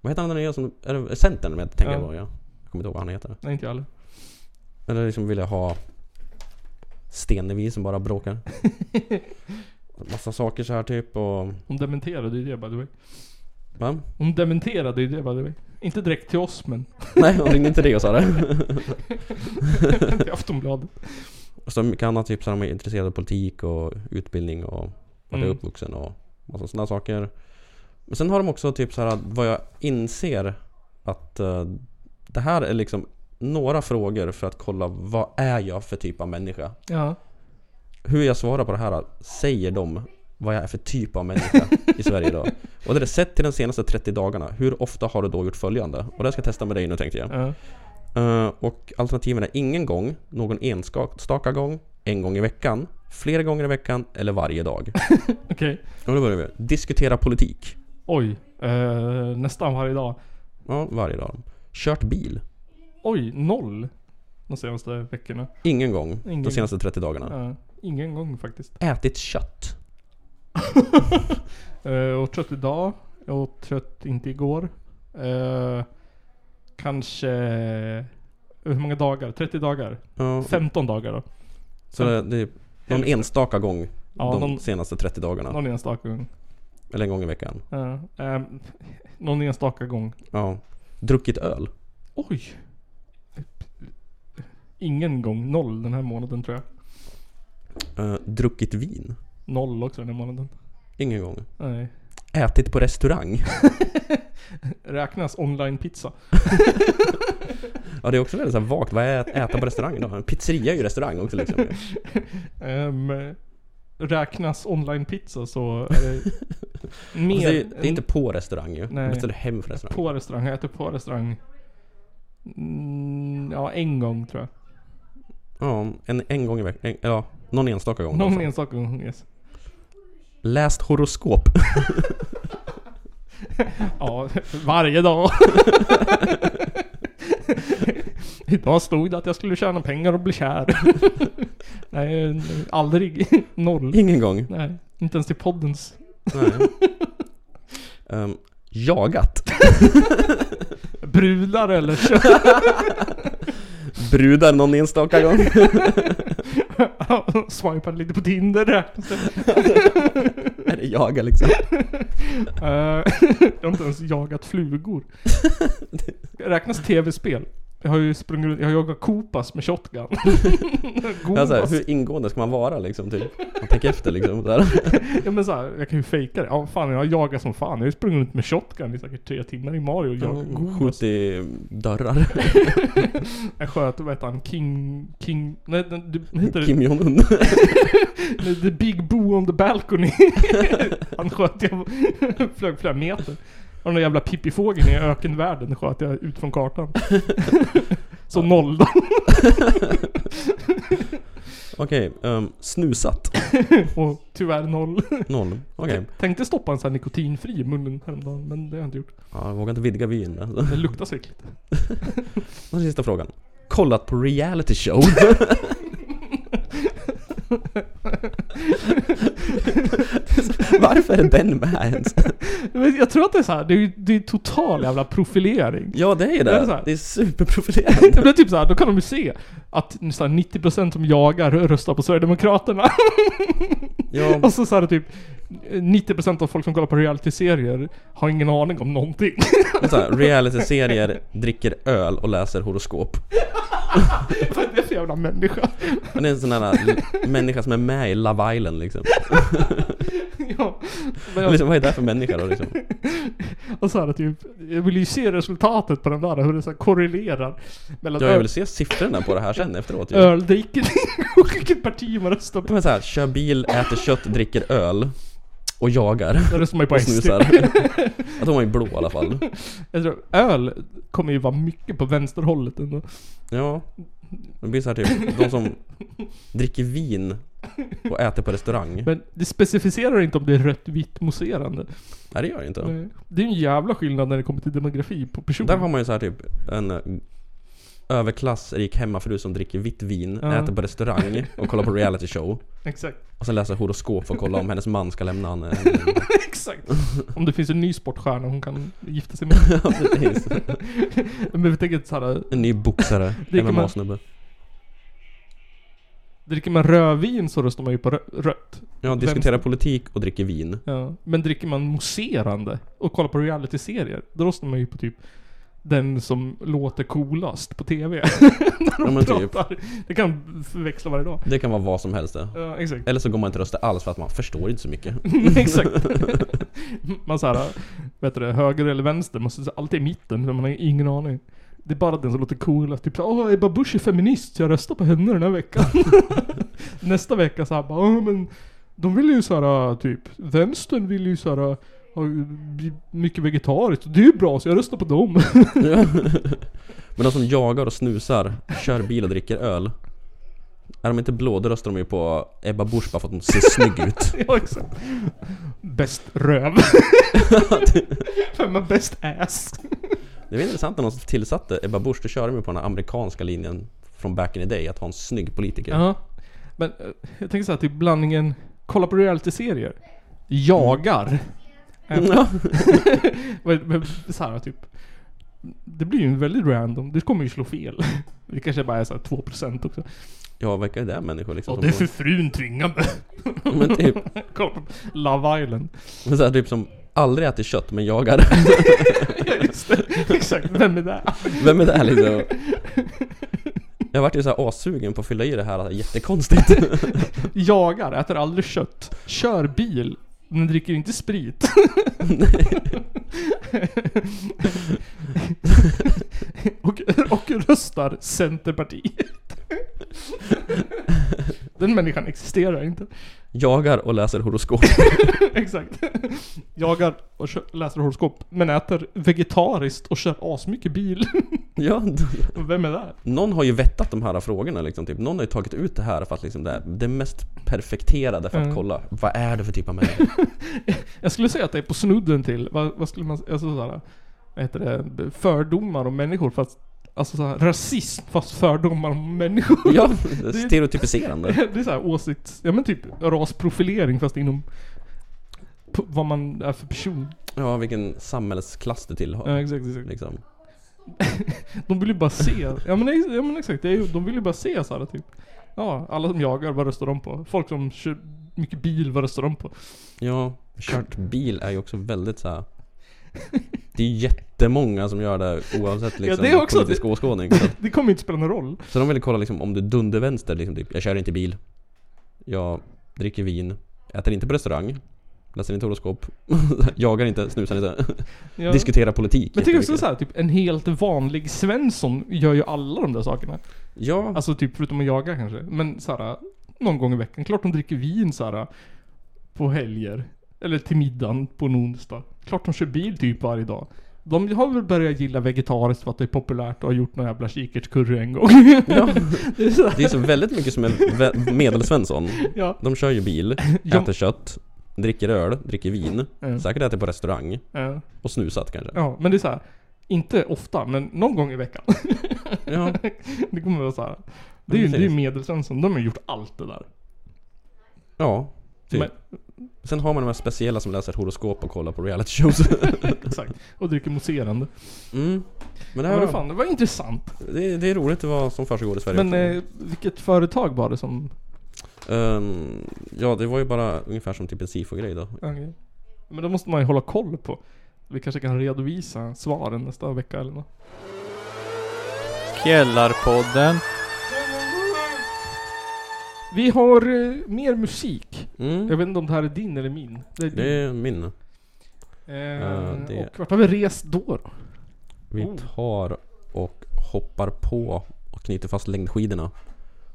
Speaker 2: Vad heter han den nya som, är det Centern jag tänker
Speaker 1: Ja.
Speaker 2: på? Ja. Jag kommer inte ihåg vad han heter.
Speaker 1: Nej, inte jag heller.
Speaker 2: Eller liksom vill jag ha Stenevi som bara bråkar. Massa saker så här typ och...
Speaker 1: Hon dementerade ju det by the way.
Speaker 2: Va?
Speaker 1: Hon dementerade ju det by the way. Inte direkt till oss men
Speaker 2: Nej, hon ringde inte det och sa det.
Speaker 1: till Aftonbladet.
Speaker 2: Och så mycket annat typ så här, de är intresserade av politik och utbildning och vart jag är
Speaker 1: Mm.
Speaker 2: uppvuxen och massa sådana saker. Men sen har de också typ så här vad jag inser att eh, det här är liksom några frågor för att kolla vad är jag för typ av människa?
Speaker 1: Ja.
Speaker 2: hur jag svarar på det här säger de vad jag är för typ av människa i Sverige idag. Och det är sett till de senaste 30 dagarna. Hur ofta har du då gjort följande? Och det här ska jag testa med dig nu tänkte jag.
Speaker 1: ja.
Speaker 2: Eh, och alternativen är ingen gång, någon enstaka gång, en gång i veckan, flera gånger i veckan eller varje dag.
Speaker 1: Okej.
Speaker 2: Och då börjar vi. Diskutera politik.
Speaker 1: Oj. Eh, nästan varje dag.
Speaker 2: Ja, varje dag. Kört bil.
Speaker 1: Oj, noll. De senaste veckorna.
Speaker 2: Ingen gång
Speaker 1: Ingen
Speaker 2: de
Speaker 1: gång.
Speaker 2: senaste 30 dagarna.
Speaker 1: Ja. Ingen gång faktiskt.
Speaker 2: Ätit kött.
Speaker 1: Eh, jag var trött idag. Jag var trött inte igår. Eh, kanske... Hur många dagar? 30 dagar?
Speaker 2: Ja,
Speaker 1: 15 dagar då?
Speaker 2: så det, det är någon enstaka gång
Speaker 1: Ja,
Speaker 2: de
Speaker 1: någon-
Speaker 2: senaste 30 dagarna.
Speaker 1: Någon enstaka gång.
Speaker 2: Eller en gång i veckan.
Speaker 1: Ja. Ehm, någon enstaka gång.
Speaker 2: Ja. Druckit öl.
Speaker 1: Oj! Ingen gång. Noll den här månaden tror jag.
Speaker 2: Eh, druckit vin.
Speaker 1: Noll också den här månaden.
Speaker 2: Ingen gång.
Speaker 1: Nej.
Speaker 2: Ätit på restaurang.
Speaker 1: Räknas online-pizza?
Speaker 2: ja, det är också väldigt så här vagt. Vad är att äta på restaurang då? En pizzeria är ju restaurang också liksom.
Speaker 1: Ehm, räknas online-pizza så är det mer...
Speaker 2: Fast Alltså, det, är, det är inte på restaurang ju.
Speaker 1: Nej.
Speaker 2: Nej. Beställer hem från restaurang.
Speaker 1: på restaurang. Jag äter på restaurang. Mm, ja, en gång tror jag.
Speaker 2: Ja, en, en gång i veckan. Ja, någon enstaka gång.
Speaker 1: Någon
Speaker 2: alltså.
Speaker 1: enstaka gång. Yes.
Speaker 2: Läst horoskop.
Speaker 1: Ja, varje dag. Idag stod det att jag skulle tjäna pengar och bli kär. Nej, aldrig. Noll.
Speaker 2: Ingen gång.
Speaker 1: Nej, inte ens till poddens.
Speaker 2: Nej. Ehm, jagat.
Speaker 1: Brudar eller kö-
Speaker 2: Brudar någon enstaka gång.
Speaker 1: Swipade lite på Tinder räknas det.
Speaker 2: är det jaga liksom?
Speaker 1: Eh, Jag har inte ens jagat flugor. Räknas tv-spel? Jag har ju sprungit runt- jag har jagat kopas med shotgun.
Speaker 2: Alltså,
Speaker 1: Gopas.
Speaker 2: hur ingående ska man vara liksom? Typ? Man tänker efter liksom. Där.
Speaker 1: Ja men såhär, jag kan ju fejka det. Ja fan jag jagar som fan. Jag har ju sprungit runt med shotgun i säkert tre timmar i Mario och jagat Gopas.
Speaker 2: Mm, Skjut i dörrar.
Speaker 1: Jag sköt, vad heter han, King... King... Nej, den, du, vad heter
Speaker 2: Kim Jong-Un.
Speaker 1: det? The Big Boo on the Balcony. han sköt jag... flög flera meter. Och den där jävla pippifågeln i ökenvärlden sköt jag ut från kartan. Så nollade
Speaker 2: Okej, ehm, snusat.
Speaker 1: och tyvärr noll.
Speaker 2: Noll. Okej.
Speaker 1: Tänkte stoppa en sån här nikotinfri i munnen häromdagen, men det har jag inte gjort.
Speaker 2: Ja, jag vågar inte vidga vyn. alltså.
Speaker 1: Det luktar så äckligt.
Speaker 2: Och sista frågan. Kollat på reality show. Varför är den med ens?
Speaker 1: Men jag tror att det är så här. det är ju det är total jävla profilering.
Speaker 2: Ja det är
Speaker 1: Det är så
Speaker 2: det.
Speaker 1: här.
Speaker 2: Det är superprofilerande.
Speaker 1: Det blir typ så här, då kan de ju se att så här, 90% som jagar röstar på Sverigedemokraterna.
Speaker 2: Ja,
Speaker 1: Och så sa det typ 90% av folk som kollar på reality-serier har ingen aning om någonting.
Speaker 2: så här, reality-serier, dricker öl och läser horoskop.
Speaker 1: Vad är det för jävla människa?
Speaker 2: Han är en sån här l- människa som är med i Love Island liksom.
Speaker 1: ja. Men jag,
Speaker 2: liksom vad är det för människa då liksom?
Speaker 1: och så här, typ, jag vill ju se resultatet på den där, hur det så här korrelerar mellan
Speaker 2: Ja, jag
Speaker 1: öl,
Speaker 2: vill se siffrorna på det här sen efteråt ju.
Speaker 1: öldrickning och vilket parti man röstar på.
Speaker 2: Men så här, kör bil, äter kött, dricker öl och jagar.
Speaker 1: Då röstar man ju på
Speaker 2: Och
Speaker 1: SD.
Speaker 2: snusar. Att de var ju blå i alla fall.
Speaker 1: Jag tror, öl kommer ju vara mycket på vänsterhållet ändå.
Speaker 2: Ja. Det blir så här typ, de som dricker vin och äter på restaurang.
Speaker 1: Men det specificerar inte om det är rött, vitt mousserande.
Speaker 2: Nej det gör det inte.
Speaker 1: Nej. Det är en jävla skillnad när det kommer till demografi på person.
Speaker 2: Där har man ju så här typ en överklassrik hemmafru som dricker vitt vin,
Speaker 1: Ja.
Speaker 2: äter på restaurang och kollar på reality show.
Speaker 1: Exakt.
Speaker 2: Och sen läser horoskop för att kolla om hennes man ska lämna henne. eller-
Speaker 1: Exakt. Om det finns en ny sportstjärna hon kan gifta sig med.
Speaker 2: Ja, precis.
Speaker 1: Men jag tänker såhär,
Speaker 2: En ny boxare,
Speaker 1: Dricker man-
Speaker 2: MMA-snubbe.
Speaker 1: dricker man rödvin så röstar man ju på rö- rött.
Speaker 2: Ja, diskuterar politik och dricker vin.
Speaker 1: Ja. Men dricker man mousserande och kollar på reality-serier, då röstar man ju på typ den som låter coolast på TV. När de
Speaker 2: Ja, men typ.
Speaker 1: pratar. Det kan förväxla varje dag.
Speaker 2: Det kan vara vad som helst det.
Speaker 1: Ja, exakt.
Speaker 2: Eller så går man inte rösta alls för att man förstår inte så mycket.
Speaker 1: Mm. exakt. Man såhär, vet du det, höger eller vänster, man står alltid i mitten för man har ingen aning. Det är bara den som låter coolast. Typ såhär, åh Ebba Busch är feminist, jag röstar på henne den här veckan. Nästa vecka såhär bara, åh men de vill ju såhär typ, vänstern vill ju såhär ha b- mycket vegetariskt. Det är ju bra så jag röstar på dem.
Speaker 2: Men de som jagar och snusar, kör bil och dricker öl. Är de inte blå, då röstar de ju på Ebba Busch bara för att hon ser snygg ut.
Speaker 1: ja exakt. Bäst röv. Vem har bäst ass?
Speaker 2: Det var intressant när de tillsatte Ebba Busch, då körde de ju på den här amerikanska linjen från back in the day, att ha en snygg politiker.
Speaker 1: Ja. Men eh, jag tänker såhär, typ blandningen, kolla på reality-serier. Jagar.
Speaker 2: Ja.
Speaker 1: Men, men så här, typ. Det blir ju en väldigt random, det kommer ju slå fel. Det kanske bara är såhär 2% också.
Speaker 2: Ja, verkar ju det människor liksom.
Speaker 1: Ja,
Speaker 2: som
Speaker 1: det är
Speaker 2: går-
Speaker 1: för frun tvingar mig.
Speaker 2: Men typ,
Speaker 1: Kolla på Love Island.
Speaker 2: men så här, typ som aldrig äter kött men jagar.
Speaker 1: Ja, just det. Exakt, vem är det?
Speaker 2: Vem är det här liksom? Jag vart ju såhär assugen på att fylla i det här, alltså, jättekonstigt.
Speaker 1: Jagar, äter aldrig kött. Kör bil, men dricker inte sprit. och, och röstar Centerpartiet. Den människan existerar inte.
Speaker 2: Jagar och läser horoskop.
Speaker 1: Exakt. Jagar och kö- läser horoskop, men äter vegetariskt och kör asmycket bil.
Speaker 2: Ja,
Speaker 1: Vem är det?
Speaker 2: Någon har ju vettat de här frågorna liksom, typ. Någon har ju tagit ut det här för att liksom det, är det mest perfekterade för att
Speaker 1: Mm.
Speaker 2: kolla Vad är det för typ av människa?
Speaker 1: Jag skulle säga att det är på snudden till, vad, vad skulle man säga, alltså såhär, vad heter det, fördomar om människor fast, alltså såhär, rasism fast fördomar om människor.
Speaker 2: ja, stereotypiserande
Speaker 1: Det är såhär åsikts, ja men typ rasprofilering fast inom p- vad man är för person.
Speaker 2: Ja, vilken samhällsklass du
Speaker 1: Ja,
Speaker 2: tillhör
Speaker 1: exakt, exakt.
Speaker 2: liksom.
Speaker 1: De vill ju bara se, ja men, ex- ja, men exakt, det är, ju- de vill ju bara se såhär typ. Ja, alla som jagar, vad röstar de på? Folk som kör mycket bil, vad röstar de på?
Speaker 2: Ja, kört bil är ju också väldigt så här. Det är ju jättemånga som gör det oavsett liksom,
Speaker 1: det är också-
Speaker 2: politisk åskådning. Så, att-
Speaker 1: Det kommer inte spela någon roll.
Speaker 2: så de ville kolla liksom, om du dundervänster, liksom, typ, jag kör inte bil. Jag dricker vin. Äter inte på restaurang. Läser inte horoskop. jagar inte, snusar inte.
Speaker 1: Ja.
Speaker 2: Diskuterar politik.
Speaker 1: Men jag tycker också
Speaker 2: jättemycket.
Speaker 1: såhär, typ en helt vanlig Svensson gör ju alla de där sakerna.
Speaker 2: Ja,
Speaker 1: Alltså typ förutom att jaga kanske. Men såhär, någon gång i veckan. Klart de dricker vin såhär på helger. Eller till middagen på en onsdag. Klart de kör bil typ varje dag. De har väl börjat gilla vegetariskt för att det är populärt och har gjort några jävla kikärtskurre en gång.
Speaker 2: Ja.
Speaker 1: Det är så här,
Speaker 2: det är så väldigt mycket som en vä- medelsvensson.
Speaker 1: ja.
Speaker 2: De kör ju bil,
Speaker 1: Ja.
Speaker 2: äter kött, dricker öl, dricker vin.
Speaker 1: Mm.
Speaker 2: Säkert äter på restaurang.
Speaker 1: eh,
Speaker 2: Och snusat kanske.
Speaker 1: ja, men det är såhär. Inte ofta, men någon gång i veckan.
Speaker 2: Ja.
Speaker 1: Det kommer vara såhär. Det är ju
Speaker 2: Ja,
Speaker 1: det är ju
Speaker 2: precis.
Speaker 1: medelsvensson. De har ju gjort allt det där.
Speaker 2: Ja, typ.
Speaker 1: Men-
Speaker 2: Sen har man de här speciella som läser horoskop och kollar på reality shows.
Speaker 1: Exakt. Och dricker mousserande.
Speaker 2: mm. Men det,
Speaker 1: Ja.
Speaker 2: här,
Speaker 1: Men fan, det var intressant.
Speaker 2: det, det är roligt vad som försiggår i Sverige.
Speaker 1: Men eh, vilket företag var det som...
Speaker 2: Ehm, ja, det var ju bara ungefär som typ en SIFO-grej då.
Speaker 1: okej. Men då måste man ju hålla koll på. Vi kanske kan redovisa svaren nästa vecka eller något.
Speaker 10: Källarpodden.
Speaker 1: Vi har eh, mer musik. Jag
Speaker 2: Mm.
Speaker 1: vet inte om det här är din eller min. Det är din.
Speaker 2: Det är min.
Speaker 1: eh,
Speaker 2: eh, det-
Speaker 1: Och vart har vi rest då? då?
Speaker 2: Vi
Speaker 1: Oh.
Speaker 2: tar och hoppar på och knyter fast längdskidorna.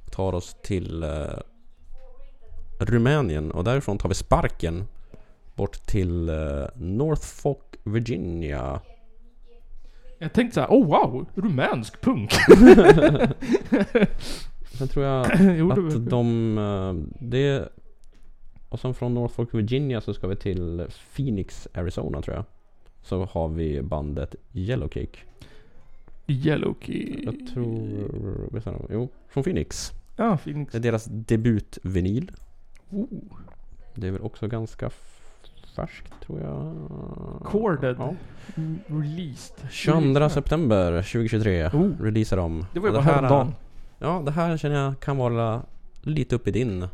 Speaker 2: Och tar oss till eh, Rumänien och därifrån tar vi sparken bort till eh, Norfolk, Virginia.
Speaker 1: Jag tänkte så här, oh wow, rumänsk punk.
Speaker 2: Sen tror jag
Speaker 1: jo, det
Speaker 2: att
Speaker 1: var-
Speaker 2: de... eh, Det... Och sen från Norfolk, Virginia så ska vi till Phoenix, Arizona tror jag. Så har vi bandet Yellowcake.
Speaker 1: Yellowkey.
Speaker 2: Jag tror... Visst är de? Jo, från Phoenix.
Speaker 1: Ja, Phoenix.
Speaker 2: Det är deras debutvinyl.
Speaker 1: Oh.
Speaker 2: Det är väl också ganska f- färskt tror jag.
Speaker 1: Corded.
Speaker 2: Ja.
Speaker 1: Mm, Released.
Speaker 2: 22 september 2023
Speaker 1: Oh.
Speaker 2: releasar de.
Speaker 1: Det var ju bara
Speaker 2: Och här-
Speaker 1: häromdagen.
Speaker 2: Ja, det här känner jag kan vara lite upp i din...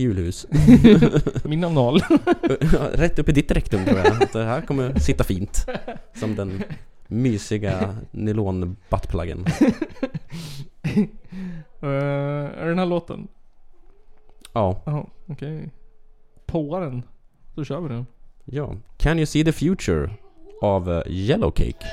Speaker 2: julhus.
Speaker 1: eh, Min anal.
Speaker 2: Rätt upp i ditt rektum tror jag. Att det här kommer sitta fint. Som den mysiga nylon-buttpluggen.
Speaker 1: Eh, är den här låten?
Speaker 2: Ja.
Speaker 1: Jaha, okej. Påa den. Då kör vi den.
Speaker 2: ja. Can you see the future? Av eh, Yellowcake.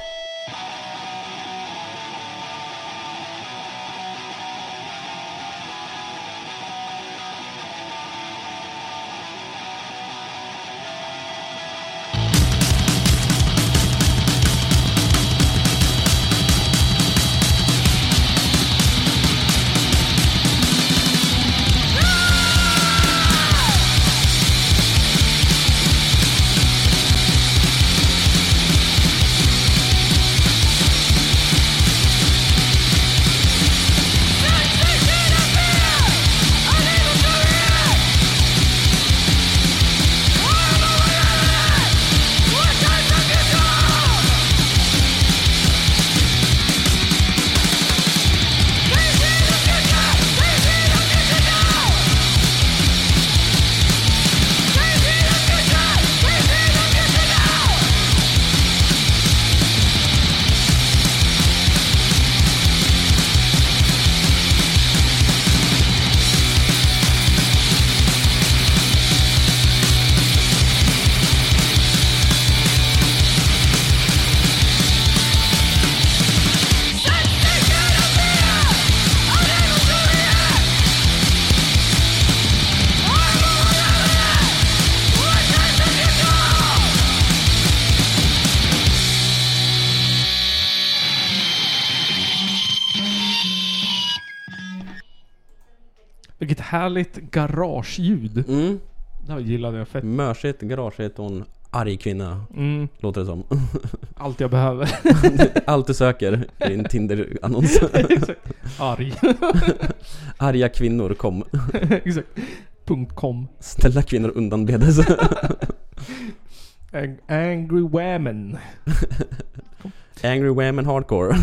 Speaker 1: Vilket härligt garageljud.
Speaker 2: Mm.
Speaker 1: Det här gillade jag fett.
Speaker 2: Mörsigt, garageigt och en arg kvinna.
Speaker 1: Mm,
Speaker 2: Låter det som.
Speaker 1: allt jag behöver.
Speaker 2: Allt du söker i en Tinder-annons.
Speaker 1: Exakt. Arg.
Speaker 2: Arga kvinnor kom.
Speaker 1: Exakt. Punkt .com.
Speaker 2: Snälla kvinnor undanbedes.
Speaker 1: Ang- Angry women.
Speaker 2: Angry women hardcore.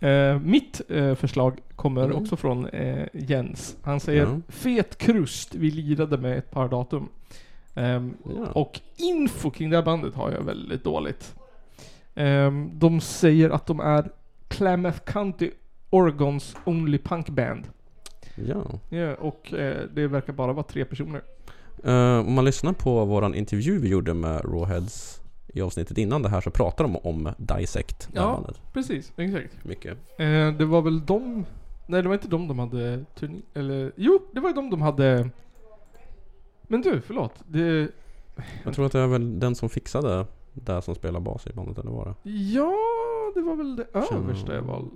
Speaker 1: Eh, mitt eh, förslag kommer
Speaker 2: Mm.
Speaker 1: också från eh, Jens. Han säger
Speaker 2: Ja.
Speaker 1: Fet krust vi lirade med ett par datum. Ehm,
Speaker 2: Ja.
Speaker 1: och info kring det här bandet har jag väldigt dåligt. Ehm, de säger att de är Klamath County, Oregons only punkband.
Speaker 2: ja.
Speaker 1: Ja, och eh, det verkar bara vara tre personer.
Speaker 2: Eh, om man lyssnar på våran intervju vi gjorde med Rawheads i avsnittet innan det här så pratar de om Dissect. det här
Speaker 1: Ja.
Speaker 2: bandet.
Speaker 1: Precis, exakt.
Speaker 2: Mycket.
Speaker 1: Eh, det var väl de... Nej, det var inte de de hade turné... Eller... Jo, det var ju de de hade... Men du, förlåt. Det...
Speaker 2: Jag tror att det är väl den som fixade där som spelar bas i bandet, eller var det?
Speaker 1: Ja, det var väl det
Speaker 2: Känner-
Speaker 1: översta jag valde.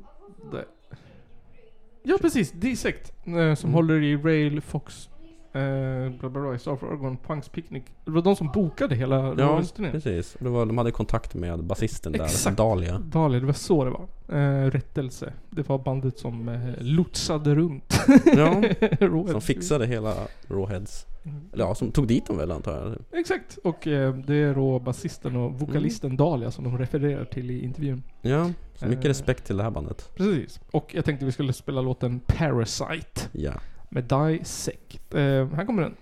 Speaker 1: Ja, precis. Dissect. Eh,
Speaker 2: Mm.
Speaker 1: som håller i Rail, Fox... Eh, bla bla bla, i Star for Oregon, Punks Picnic. Det var de som bokade hela
Speaker 2: Ja,
Speaker 1: Rolls-turnén.
Speaker 2: precis. Det var, de hade kontakt med basisten där,
Speaker 1: Mm. Exakt.
Speaker 2: Dahlia.
Speaker 1: Dahlia, det var så det var. Eh, rättelse. Det var bandet som eh, lotsade runt.
Speaker 2: Ja,
Speaker 1: Rawheads.
Speaker 2: som fixade hela Rawheads.
Speaker 1: Mm.
Speaker 2: Eller ja, som tog dit dem väl antar jag.
Speaker 1: Exakt, och eh, det är då basisten och vokalisten
Speaker 2: Mm.
Speaker 1: Dahlia som de refererar till i intervjun.
Speaker 2: Ja, så mycket
Speaker 1: Eh.
Speaker 2: respekt till det här bandet.
Speaker 1: Precis. Och jag tänkte vi skulle spela låten Parasite
Speaker 2: Ja.
Speaker 1: med Dissect. Eh, här kommer den.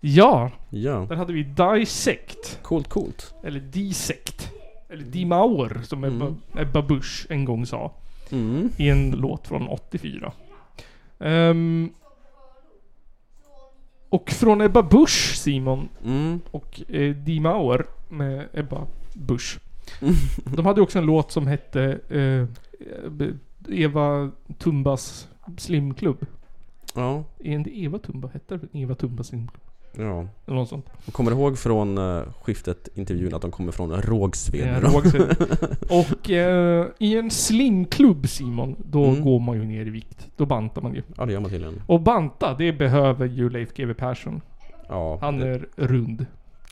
Speaker 1: Ja,
Speaker 2: Ja.
Speaker 1: där hade vi Dissect.
Speaker 2: Coolt, coolt.
Speaker 1: Eller Dissect. Eller Dimaur som Ebba, Ebba Busch en gång sa.
Speaker 2: Mm.
Speaker 1: I en låt från 84. Ehm, och från Ebba Busch, Simon,
Speaker 2: Mm.
Speaker 1: och eh, Dee Mauer med Ebba Busch. De hade ju också en låt som hette eh, Eva Tumbas Slimklubb.
Speaker 2: Ja.
Speaker 1: Är inte Eva Tumba? Hette det Eva Tumbas Slimklubb?
Speaker 2: Ja.
Speaker 1: Eller något sånt.
Speaker 2: Och kommer du ihåg från eh, skiftet intervjun att de kommer från Rågsved?
Speaker 1: Eh,
Speaker 2: nu då?
Speaker 1: jag ihåg sen. och eh, i en slimklubb Simon, då
Speaker 2: Mm.
Speaker 1: går man ju ner i vikt. Då bantar man ju.
Speaker 2: Ja, det gör man tydligen.
Speaker 1: Och banta, det behöver ju Leif GW Persson.
Speaker 2: Ja,
Speaker 1: Han eh,
Speaker 2: det-
Speaker 1: är rund.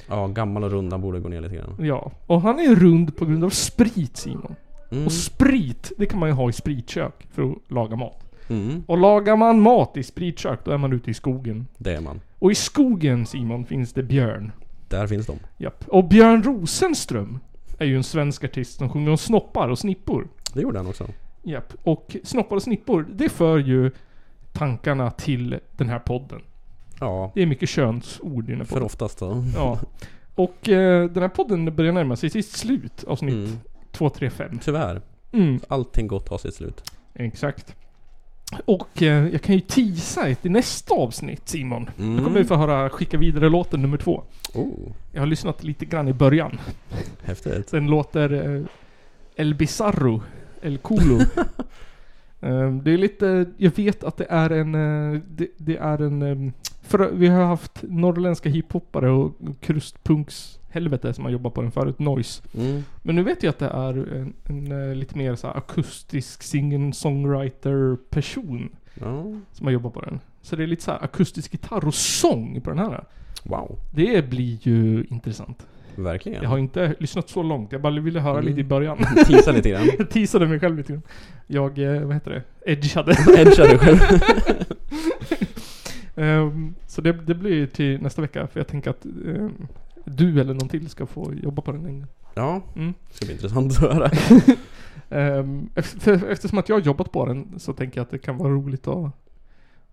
Speaker 2: ja, gammal och rund. Han borde gå ner lite grann.
Speaker 1: Ja. Och han är rund på grund av sprit Simon.
Speaker 2: Mm.
Speaker 1: Och sprit, det kan man ju ha i spritkök för att laga mat.
Speaker 2: Mm.
Speaker 1: Och lagar man mat i spritkök, då är man ute i skogen.
Speaker 2: Det är man.
Speaker 1: Och i skogen, Simon, finns det björn.
Speaker 2: Där finns de.
Speaker 1: Japp. Och Björn Rosenström är ju en svensk artist som sjunger om snoppar och snippor.
Speaker 2: Det gjorde han också.
Speaker 1: Japp. Och snoppar och snippor, det för ju tankarna till den här podden.
Speaker 2: Ja,
Speaker 1: Det är mycket könsord i den här
Speaker 2: för
Speaker 1: podden.
Speaker 2: oftast då.
Speaker 1: Ja. Och eh, den här podden börjar närma sig sitt slut, avsnitt
Speaker 2: Mm.
Speaker 1: 235.
Speaker 2: Tyvärr.
Speaker 1: Mm.
Speaker 2: Allting gott har sitt slut.
Speaker 1: Exakt. Och eh, jag kan ju teasa till nästa avsnitt Simon. Då kommer vi få höra Skicka vidare låten nummer två.
Speaker 2: Mm. Oh,
Speaker 1: Jag har lyssnat lite grann i början.
Speaker 2: häftigt.
Speaker 1: Den låter eh, El Bizarro, El Culo. Eh, det är lite, jag vet att det är en, eh, det, det är en, eh, för, vi har haft norrländska hiphoppare och krustpunks helvete som har jobbat på den förut, Noise.
Speaker 2: Mm.
Speaker 1: Men nu vet jag att det är en, en, eh, lite mer så här akustisk singer-songwriter-person
Speaker 2: Ja.
Speaker 1: som har jobbat på den. Så det är lite så här akustisk gitarr och sång på den här.
Speaker 2: Wow.
Speaker 1: Det blir ju intressant.
Speaker 2: Verkligen.
Speaker 1: Jag har inte lyssnat så långt, jag bara ville höra
Speaker 2: Mm.
Speaker 1: lite i början.
Speaker 2: Tisa lite grann.
Speaker 1: jag teasade mig själv lite grann. Jag, eh, vad heter det? Edgeade.
Speaker 2: Edgar dig
Speaker 1: Mm.
Speaker 2: själv.
Speaker 1: Ehm, så det, det blir till nästa vecka, för jag tänker att ehm, du eller någon till ska få jobba på den en gång.
Speaker 2: Ja,
Speaker 1: Mm.
Speaker 2: det ska bli intressant att höra.
Speaker 1: Ehm, eft- för- Eftersom att jag har jobbat på den så tänker jag att det kan vara roligt att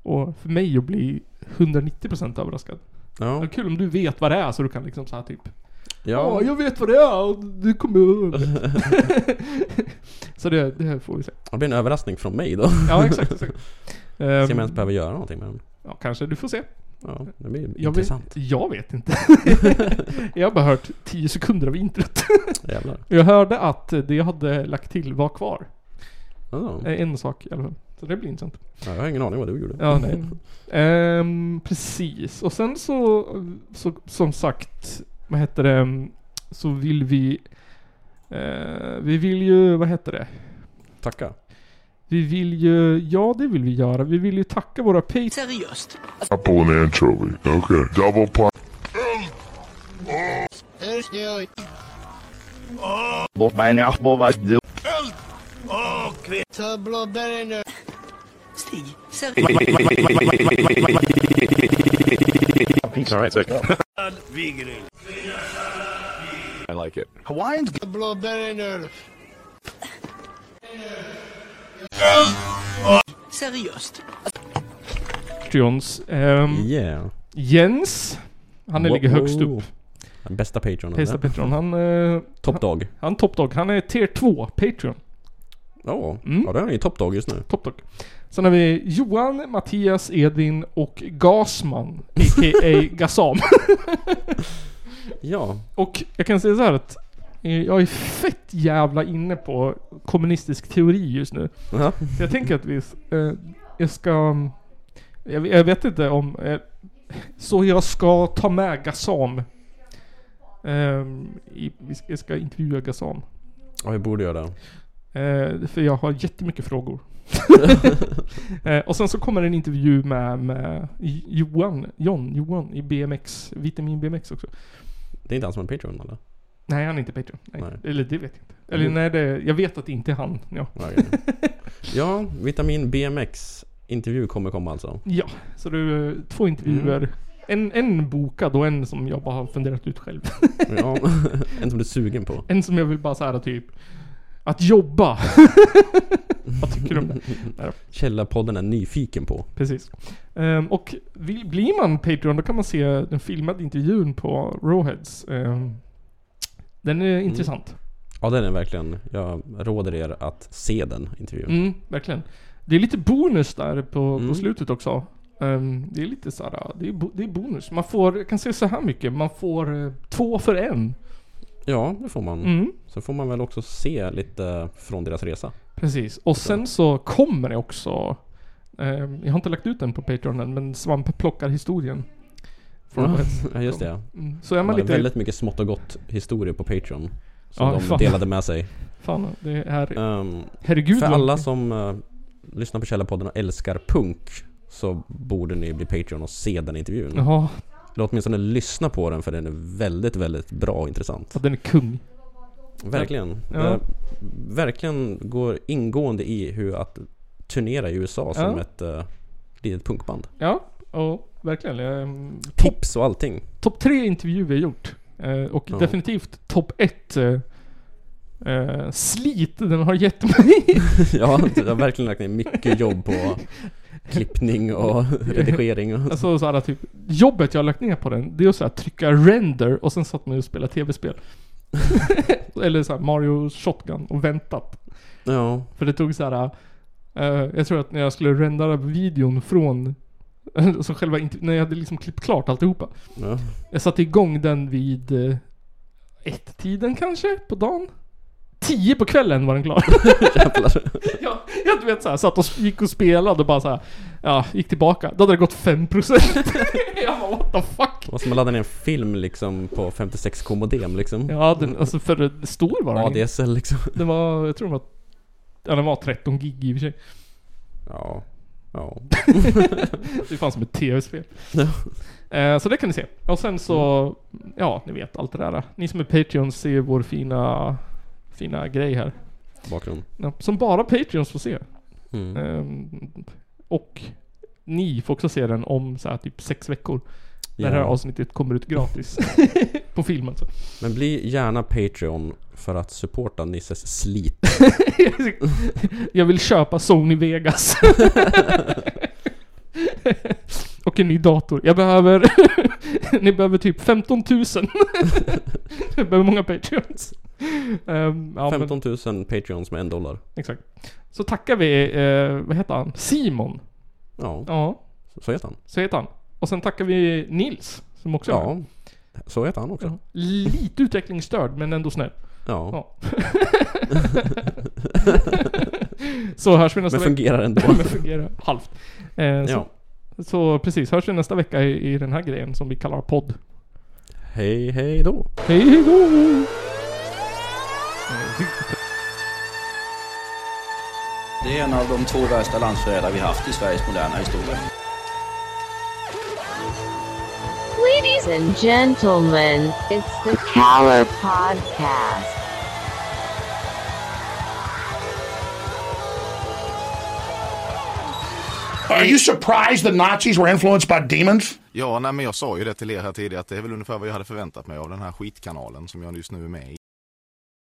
Speaker 1: och för mig att bli 190% överraskad. Det
Speaker 2: Ja,
Speaker 1: är kul om du vet vad det är så du kan liksom så här typ Ja, jag vet vad det är och du kommer Så det, det här får vi se.
Speaker 2: Det blir en överraskning från mig då.
Speaker 1: Ja, exakt. exakt.
Speaker 2: Se om jag
Speaker 1: Ehm,
Speaker 2: ens behöver göra någonting med den.
Speaker 1: ja, kanske du får se.
Speaker 2: Ja, det blir
Speaker 1: Jag vet,
Speaker 2: intressant.
Speaker 1: jag vet inte. jag har bara hört 10 sekunder av introt.
Speaker 2: Jävlar.
Speaker 1: Jag hörde att det jag hade lagt till var kvar.
Speaker 2: Ja,
Speaker 1: Eh, En sak i alla fall. Så det blir intressant.
Speaker 2: ja, jag har ingen aning vad du gjorde.
Speaker 1: Ja, nej. Ehm, precis. Och sen så, så, som sagt, vad heter det, så vill vi, eh, vi vill ju, vad heter det?
Speaker 2: Tacka.
Speaker 1: Vi vill ju, ja det vill vi göra. Vi vill ju tacka våra Patreons.
Speaker 8: Seriöst.
Speaker 5: Apple and anchovy. Okay. Double pop.
Speaker 8: Stig. Seriöst.
Speaker 7: Alright, sick. I like it.
Speaker 9: Hawaiians
Speaker 8: Seriöst.
Speaker 1: Ehm,
Speaker 2: Yeah.
Speaker 1: Jens, han är ligger
Speaker 2: Wow.
Speaker 1: högst upp.
Speaker 2: Den bästa patronen.
Speaker 1: Hejsa Patreon. Han, eh,
Speaker 2: Top dog.
Speaker 1: han toppdog. Han är tier 2 Patreon.
Speaker 2: Ja,
Speaker 1: Mm.
Speaker 2: ja det är ju top dog just nu.
Speaker 1: Toppdog. Sen har vi Johan, Mattias, Edvin och Gasman. A.k.a. Gasam.
Speaker 2: Ja.
Speaker 1: Och jag kan säga så här att eh, jag är fett jävla inne på kommunistisk teori just nu.
Speaker 2: Ja.
Speaker 1: Så jag tänker att vi... Eh, jag ska... Jag, jag vet inte om... Eh, så jag ska ta med Gazam. Ehm, i, vi ska, jag ska intervjua Gazam.
Speaker 2: ja, vi borde göra det.
Speaker 1: Eh, för jag har jättemycket frågor. eh, och sen så kommer en intervju med, med J- Johan, John, Johan i BMX, Vitamin BMX också.
Speaker 2: Det är inte han som är Patreon eller?
Speaker 1: Nej, han är inte Patreon. Nej.
Speaker 2: Nej.
Speaker 1: Eller det vet jag inte. Eller
Speaker 2: Mm.
Speaker 1: nej, det, jag vet att det inte är han. Ja.
Speaker 2: Ja, okej. ja, Vitamin BMX intervju kommer komma alltså.
Speaker 1: ja, så du eh, två intervjuer.
Speaker 2: Mm.
Speaker 1: En, en bokad och en som jag bara har funderat ut själv.
Speaker 2: Ja, en som du är sugen på.
Speaker 1: En som jag vill bara säga typ, att jobba. Vad tycker du om det?
Speaker 2: Källarpodden är nyfiken på.
Speaker 1: Precis. Ehm, och vill, blir man Patreon då kan man se den filmade intervjun på Rawheads. Ehm, den är
Speaker 2: Mm.
Speaker 1: intressant.
Speaker 2: Ja, den är verkligen. Jag råder er att se den intervjun.
Speaker 1: Mm, verkligen. Det är lite bonus där på, på
Speaker 2: Mm.
Speaker 1: slutet också. Ehm, det är lite såhär, det är, bo, det är bonus. Man får, jag kan säga så här mycket, man får eh, två för en.
Speaker 2: Ja, det får man.
Speaker 1: Mm.
Speaker 2: Så får man väl också se lite från deras resa.
Speaker 1: Precis. Och sen så kommer det också... ehm, jag har inte lagt ut den på Patreon än, men Svamp plockar historien. Från Rawheads.
Speaker 2: Ja, just det.
Speaker 1: Mm. Så är
Speaker 2: Det
Speaker 1: man
Speaker 2: var
Speaker 1: lite...
Speaker 2: Ah. väldigt mycket smått och gott historier på Patreon. Som
Speaker 1: Ja,
Speaker 2: de
Speaker 1: fan.
Speaker 2: delade med sig.
Speaker 1: Fan, det är...
Speaker 2: Ehm,
Speaker 1: Herregud
Speaker 2: för
Speaker 1: vad-
Speaker 2: alla som eh, lyssnar på Källarpodden och älskar punk så borde ni bli Patreon och se den intervjun.
Speaker 1: Jaha,
Speaker 2: Eller åtminstone lyssna på den för den är väldigt, väldigt bra och intressant.
Speaker 1: så den är kung.
Speaker 2: Verkligen.
Speaker 1: Ja.
Speaker 2: Det verkligen går ingående i hur att turnera i USA som
Speaker 1: Ja.
Speaker 2: ett uh, litet punkband.
Speaker 1: Ja, och verkligen. ehm, Topp
Speaker 2: Tips och allting.
Speaker 1: top tre intervjuer jag gjort. Eh, och
Speaker 2: Ja.
Speaker 1: definitivt topp ett eh, eh, slit den har gett mig.
Speaker 2: ja, alltså, jag har verkligen lagt ner mycket jobb på klippning och redigering. Och,
Speaker 1: alltså så här, typ, jobbet jag har lagt ner på den, det är att så här, trycka render och sen satt man och spelade tv-spel. Eller så här, Mario Shotgun och väntat.
Speaker 2: ja.
Speaker 1: För det tog så här. eh, jag tror att när jag skulle rendera videon från... så själva int- när jag hade liksom klippt klart alltihopa.
Speaker 2: ja.
Speaker 1: Jag satte igång den vid eh, ett-tiden kanske på dagen. Tio på kvällen var den klar. jag, jag du vet såhär, satt och gick och spelade och bara såhär, ja, gick tillbaka. Då hade det gått 5%. jag bara what the fuck.
Speaker 2: Och som att ladda ner en film liksom på 56k modem liksom.
Speaker 1: Ja, den, alltså för stor var den. inte.
Speaker 2: ADSL liksom.
Speaker 1: Den var, jag tror den var, ja, den var 13 gig i och för sig.
Speaker 2: Ja. Ja.
Speaker 1: Det fanns som ett tv-spel.
Speaker 2: Ja. Mm.
Speaker 1: Eh, så det kan ni se. Och sen så, ja, ni vet allt det där. Ni som är Patreons ser vår fina, fina grej här.
Speaker 2: Bakgrund.
Speaker 1: Ja, som bara Patreons får se.
Speaker 2: Mm.
Speaker 1: Ehm, och ni får också se den om så här, typ sex veckor. När det här
Speaker 2: Ja.
Speaker 1: avsnittet kommer ut gratis. på filmen så.
Speaker 2: Men bli gärna Patreon för att supporta Nisses slit.
Speaker 1: Jag vill köpa Sony Vegas. och en ny dator. Jag behöver... ni behöver typ 15 000. Jag behöver många patreons. Ehm, ja, men,
Speaker 2: 15 000 Patreons med en dollar.
Speaker 1: exakt. Så tackar vi, eh, vad heter han? Simon.
Speaker 2: Ja,
Speaker 1: Ja,
Speaker 2: så heter han.
Speaker 1: så heter han. Och sen tackar vi Nils, som också är med.
Speaker 2: Ja, så heter han också.
Speaker 1: Ja. Lite utvecklingsstörd, men ändå snäll.
Speaker 2: Ja,
Speaker 1: Ja. så hörs vi nästa
Speaker 2: men fungerar ändå.
Speaker 1: vecka. Men fungerar halvt. Eh,
Speaker 2: Ja,
Speaker 1: så, så precis, hörs vi nästa vecka i, i den här grejen som vi kallar podd.
Speaker 2: hej hej då.
Speaker 1: Hej då!
Speaker 10: Det är en av de två värsta landsförrädare vi haft i Sveriges moderna historia.
Speaker 3: Ladies and gentlemen, it's the Caller Podcast.
Speaker 4: Are you surprised the Nazis were influenced by demons?
Speaker 5: Ja, nej, men jag sa ju det till er här tidigare att det är väl ungefär vad jag hade förväntat mig av den här skitkanalen som jag just nu är med i.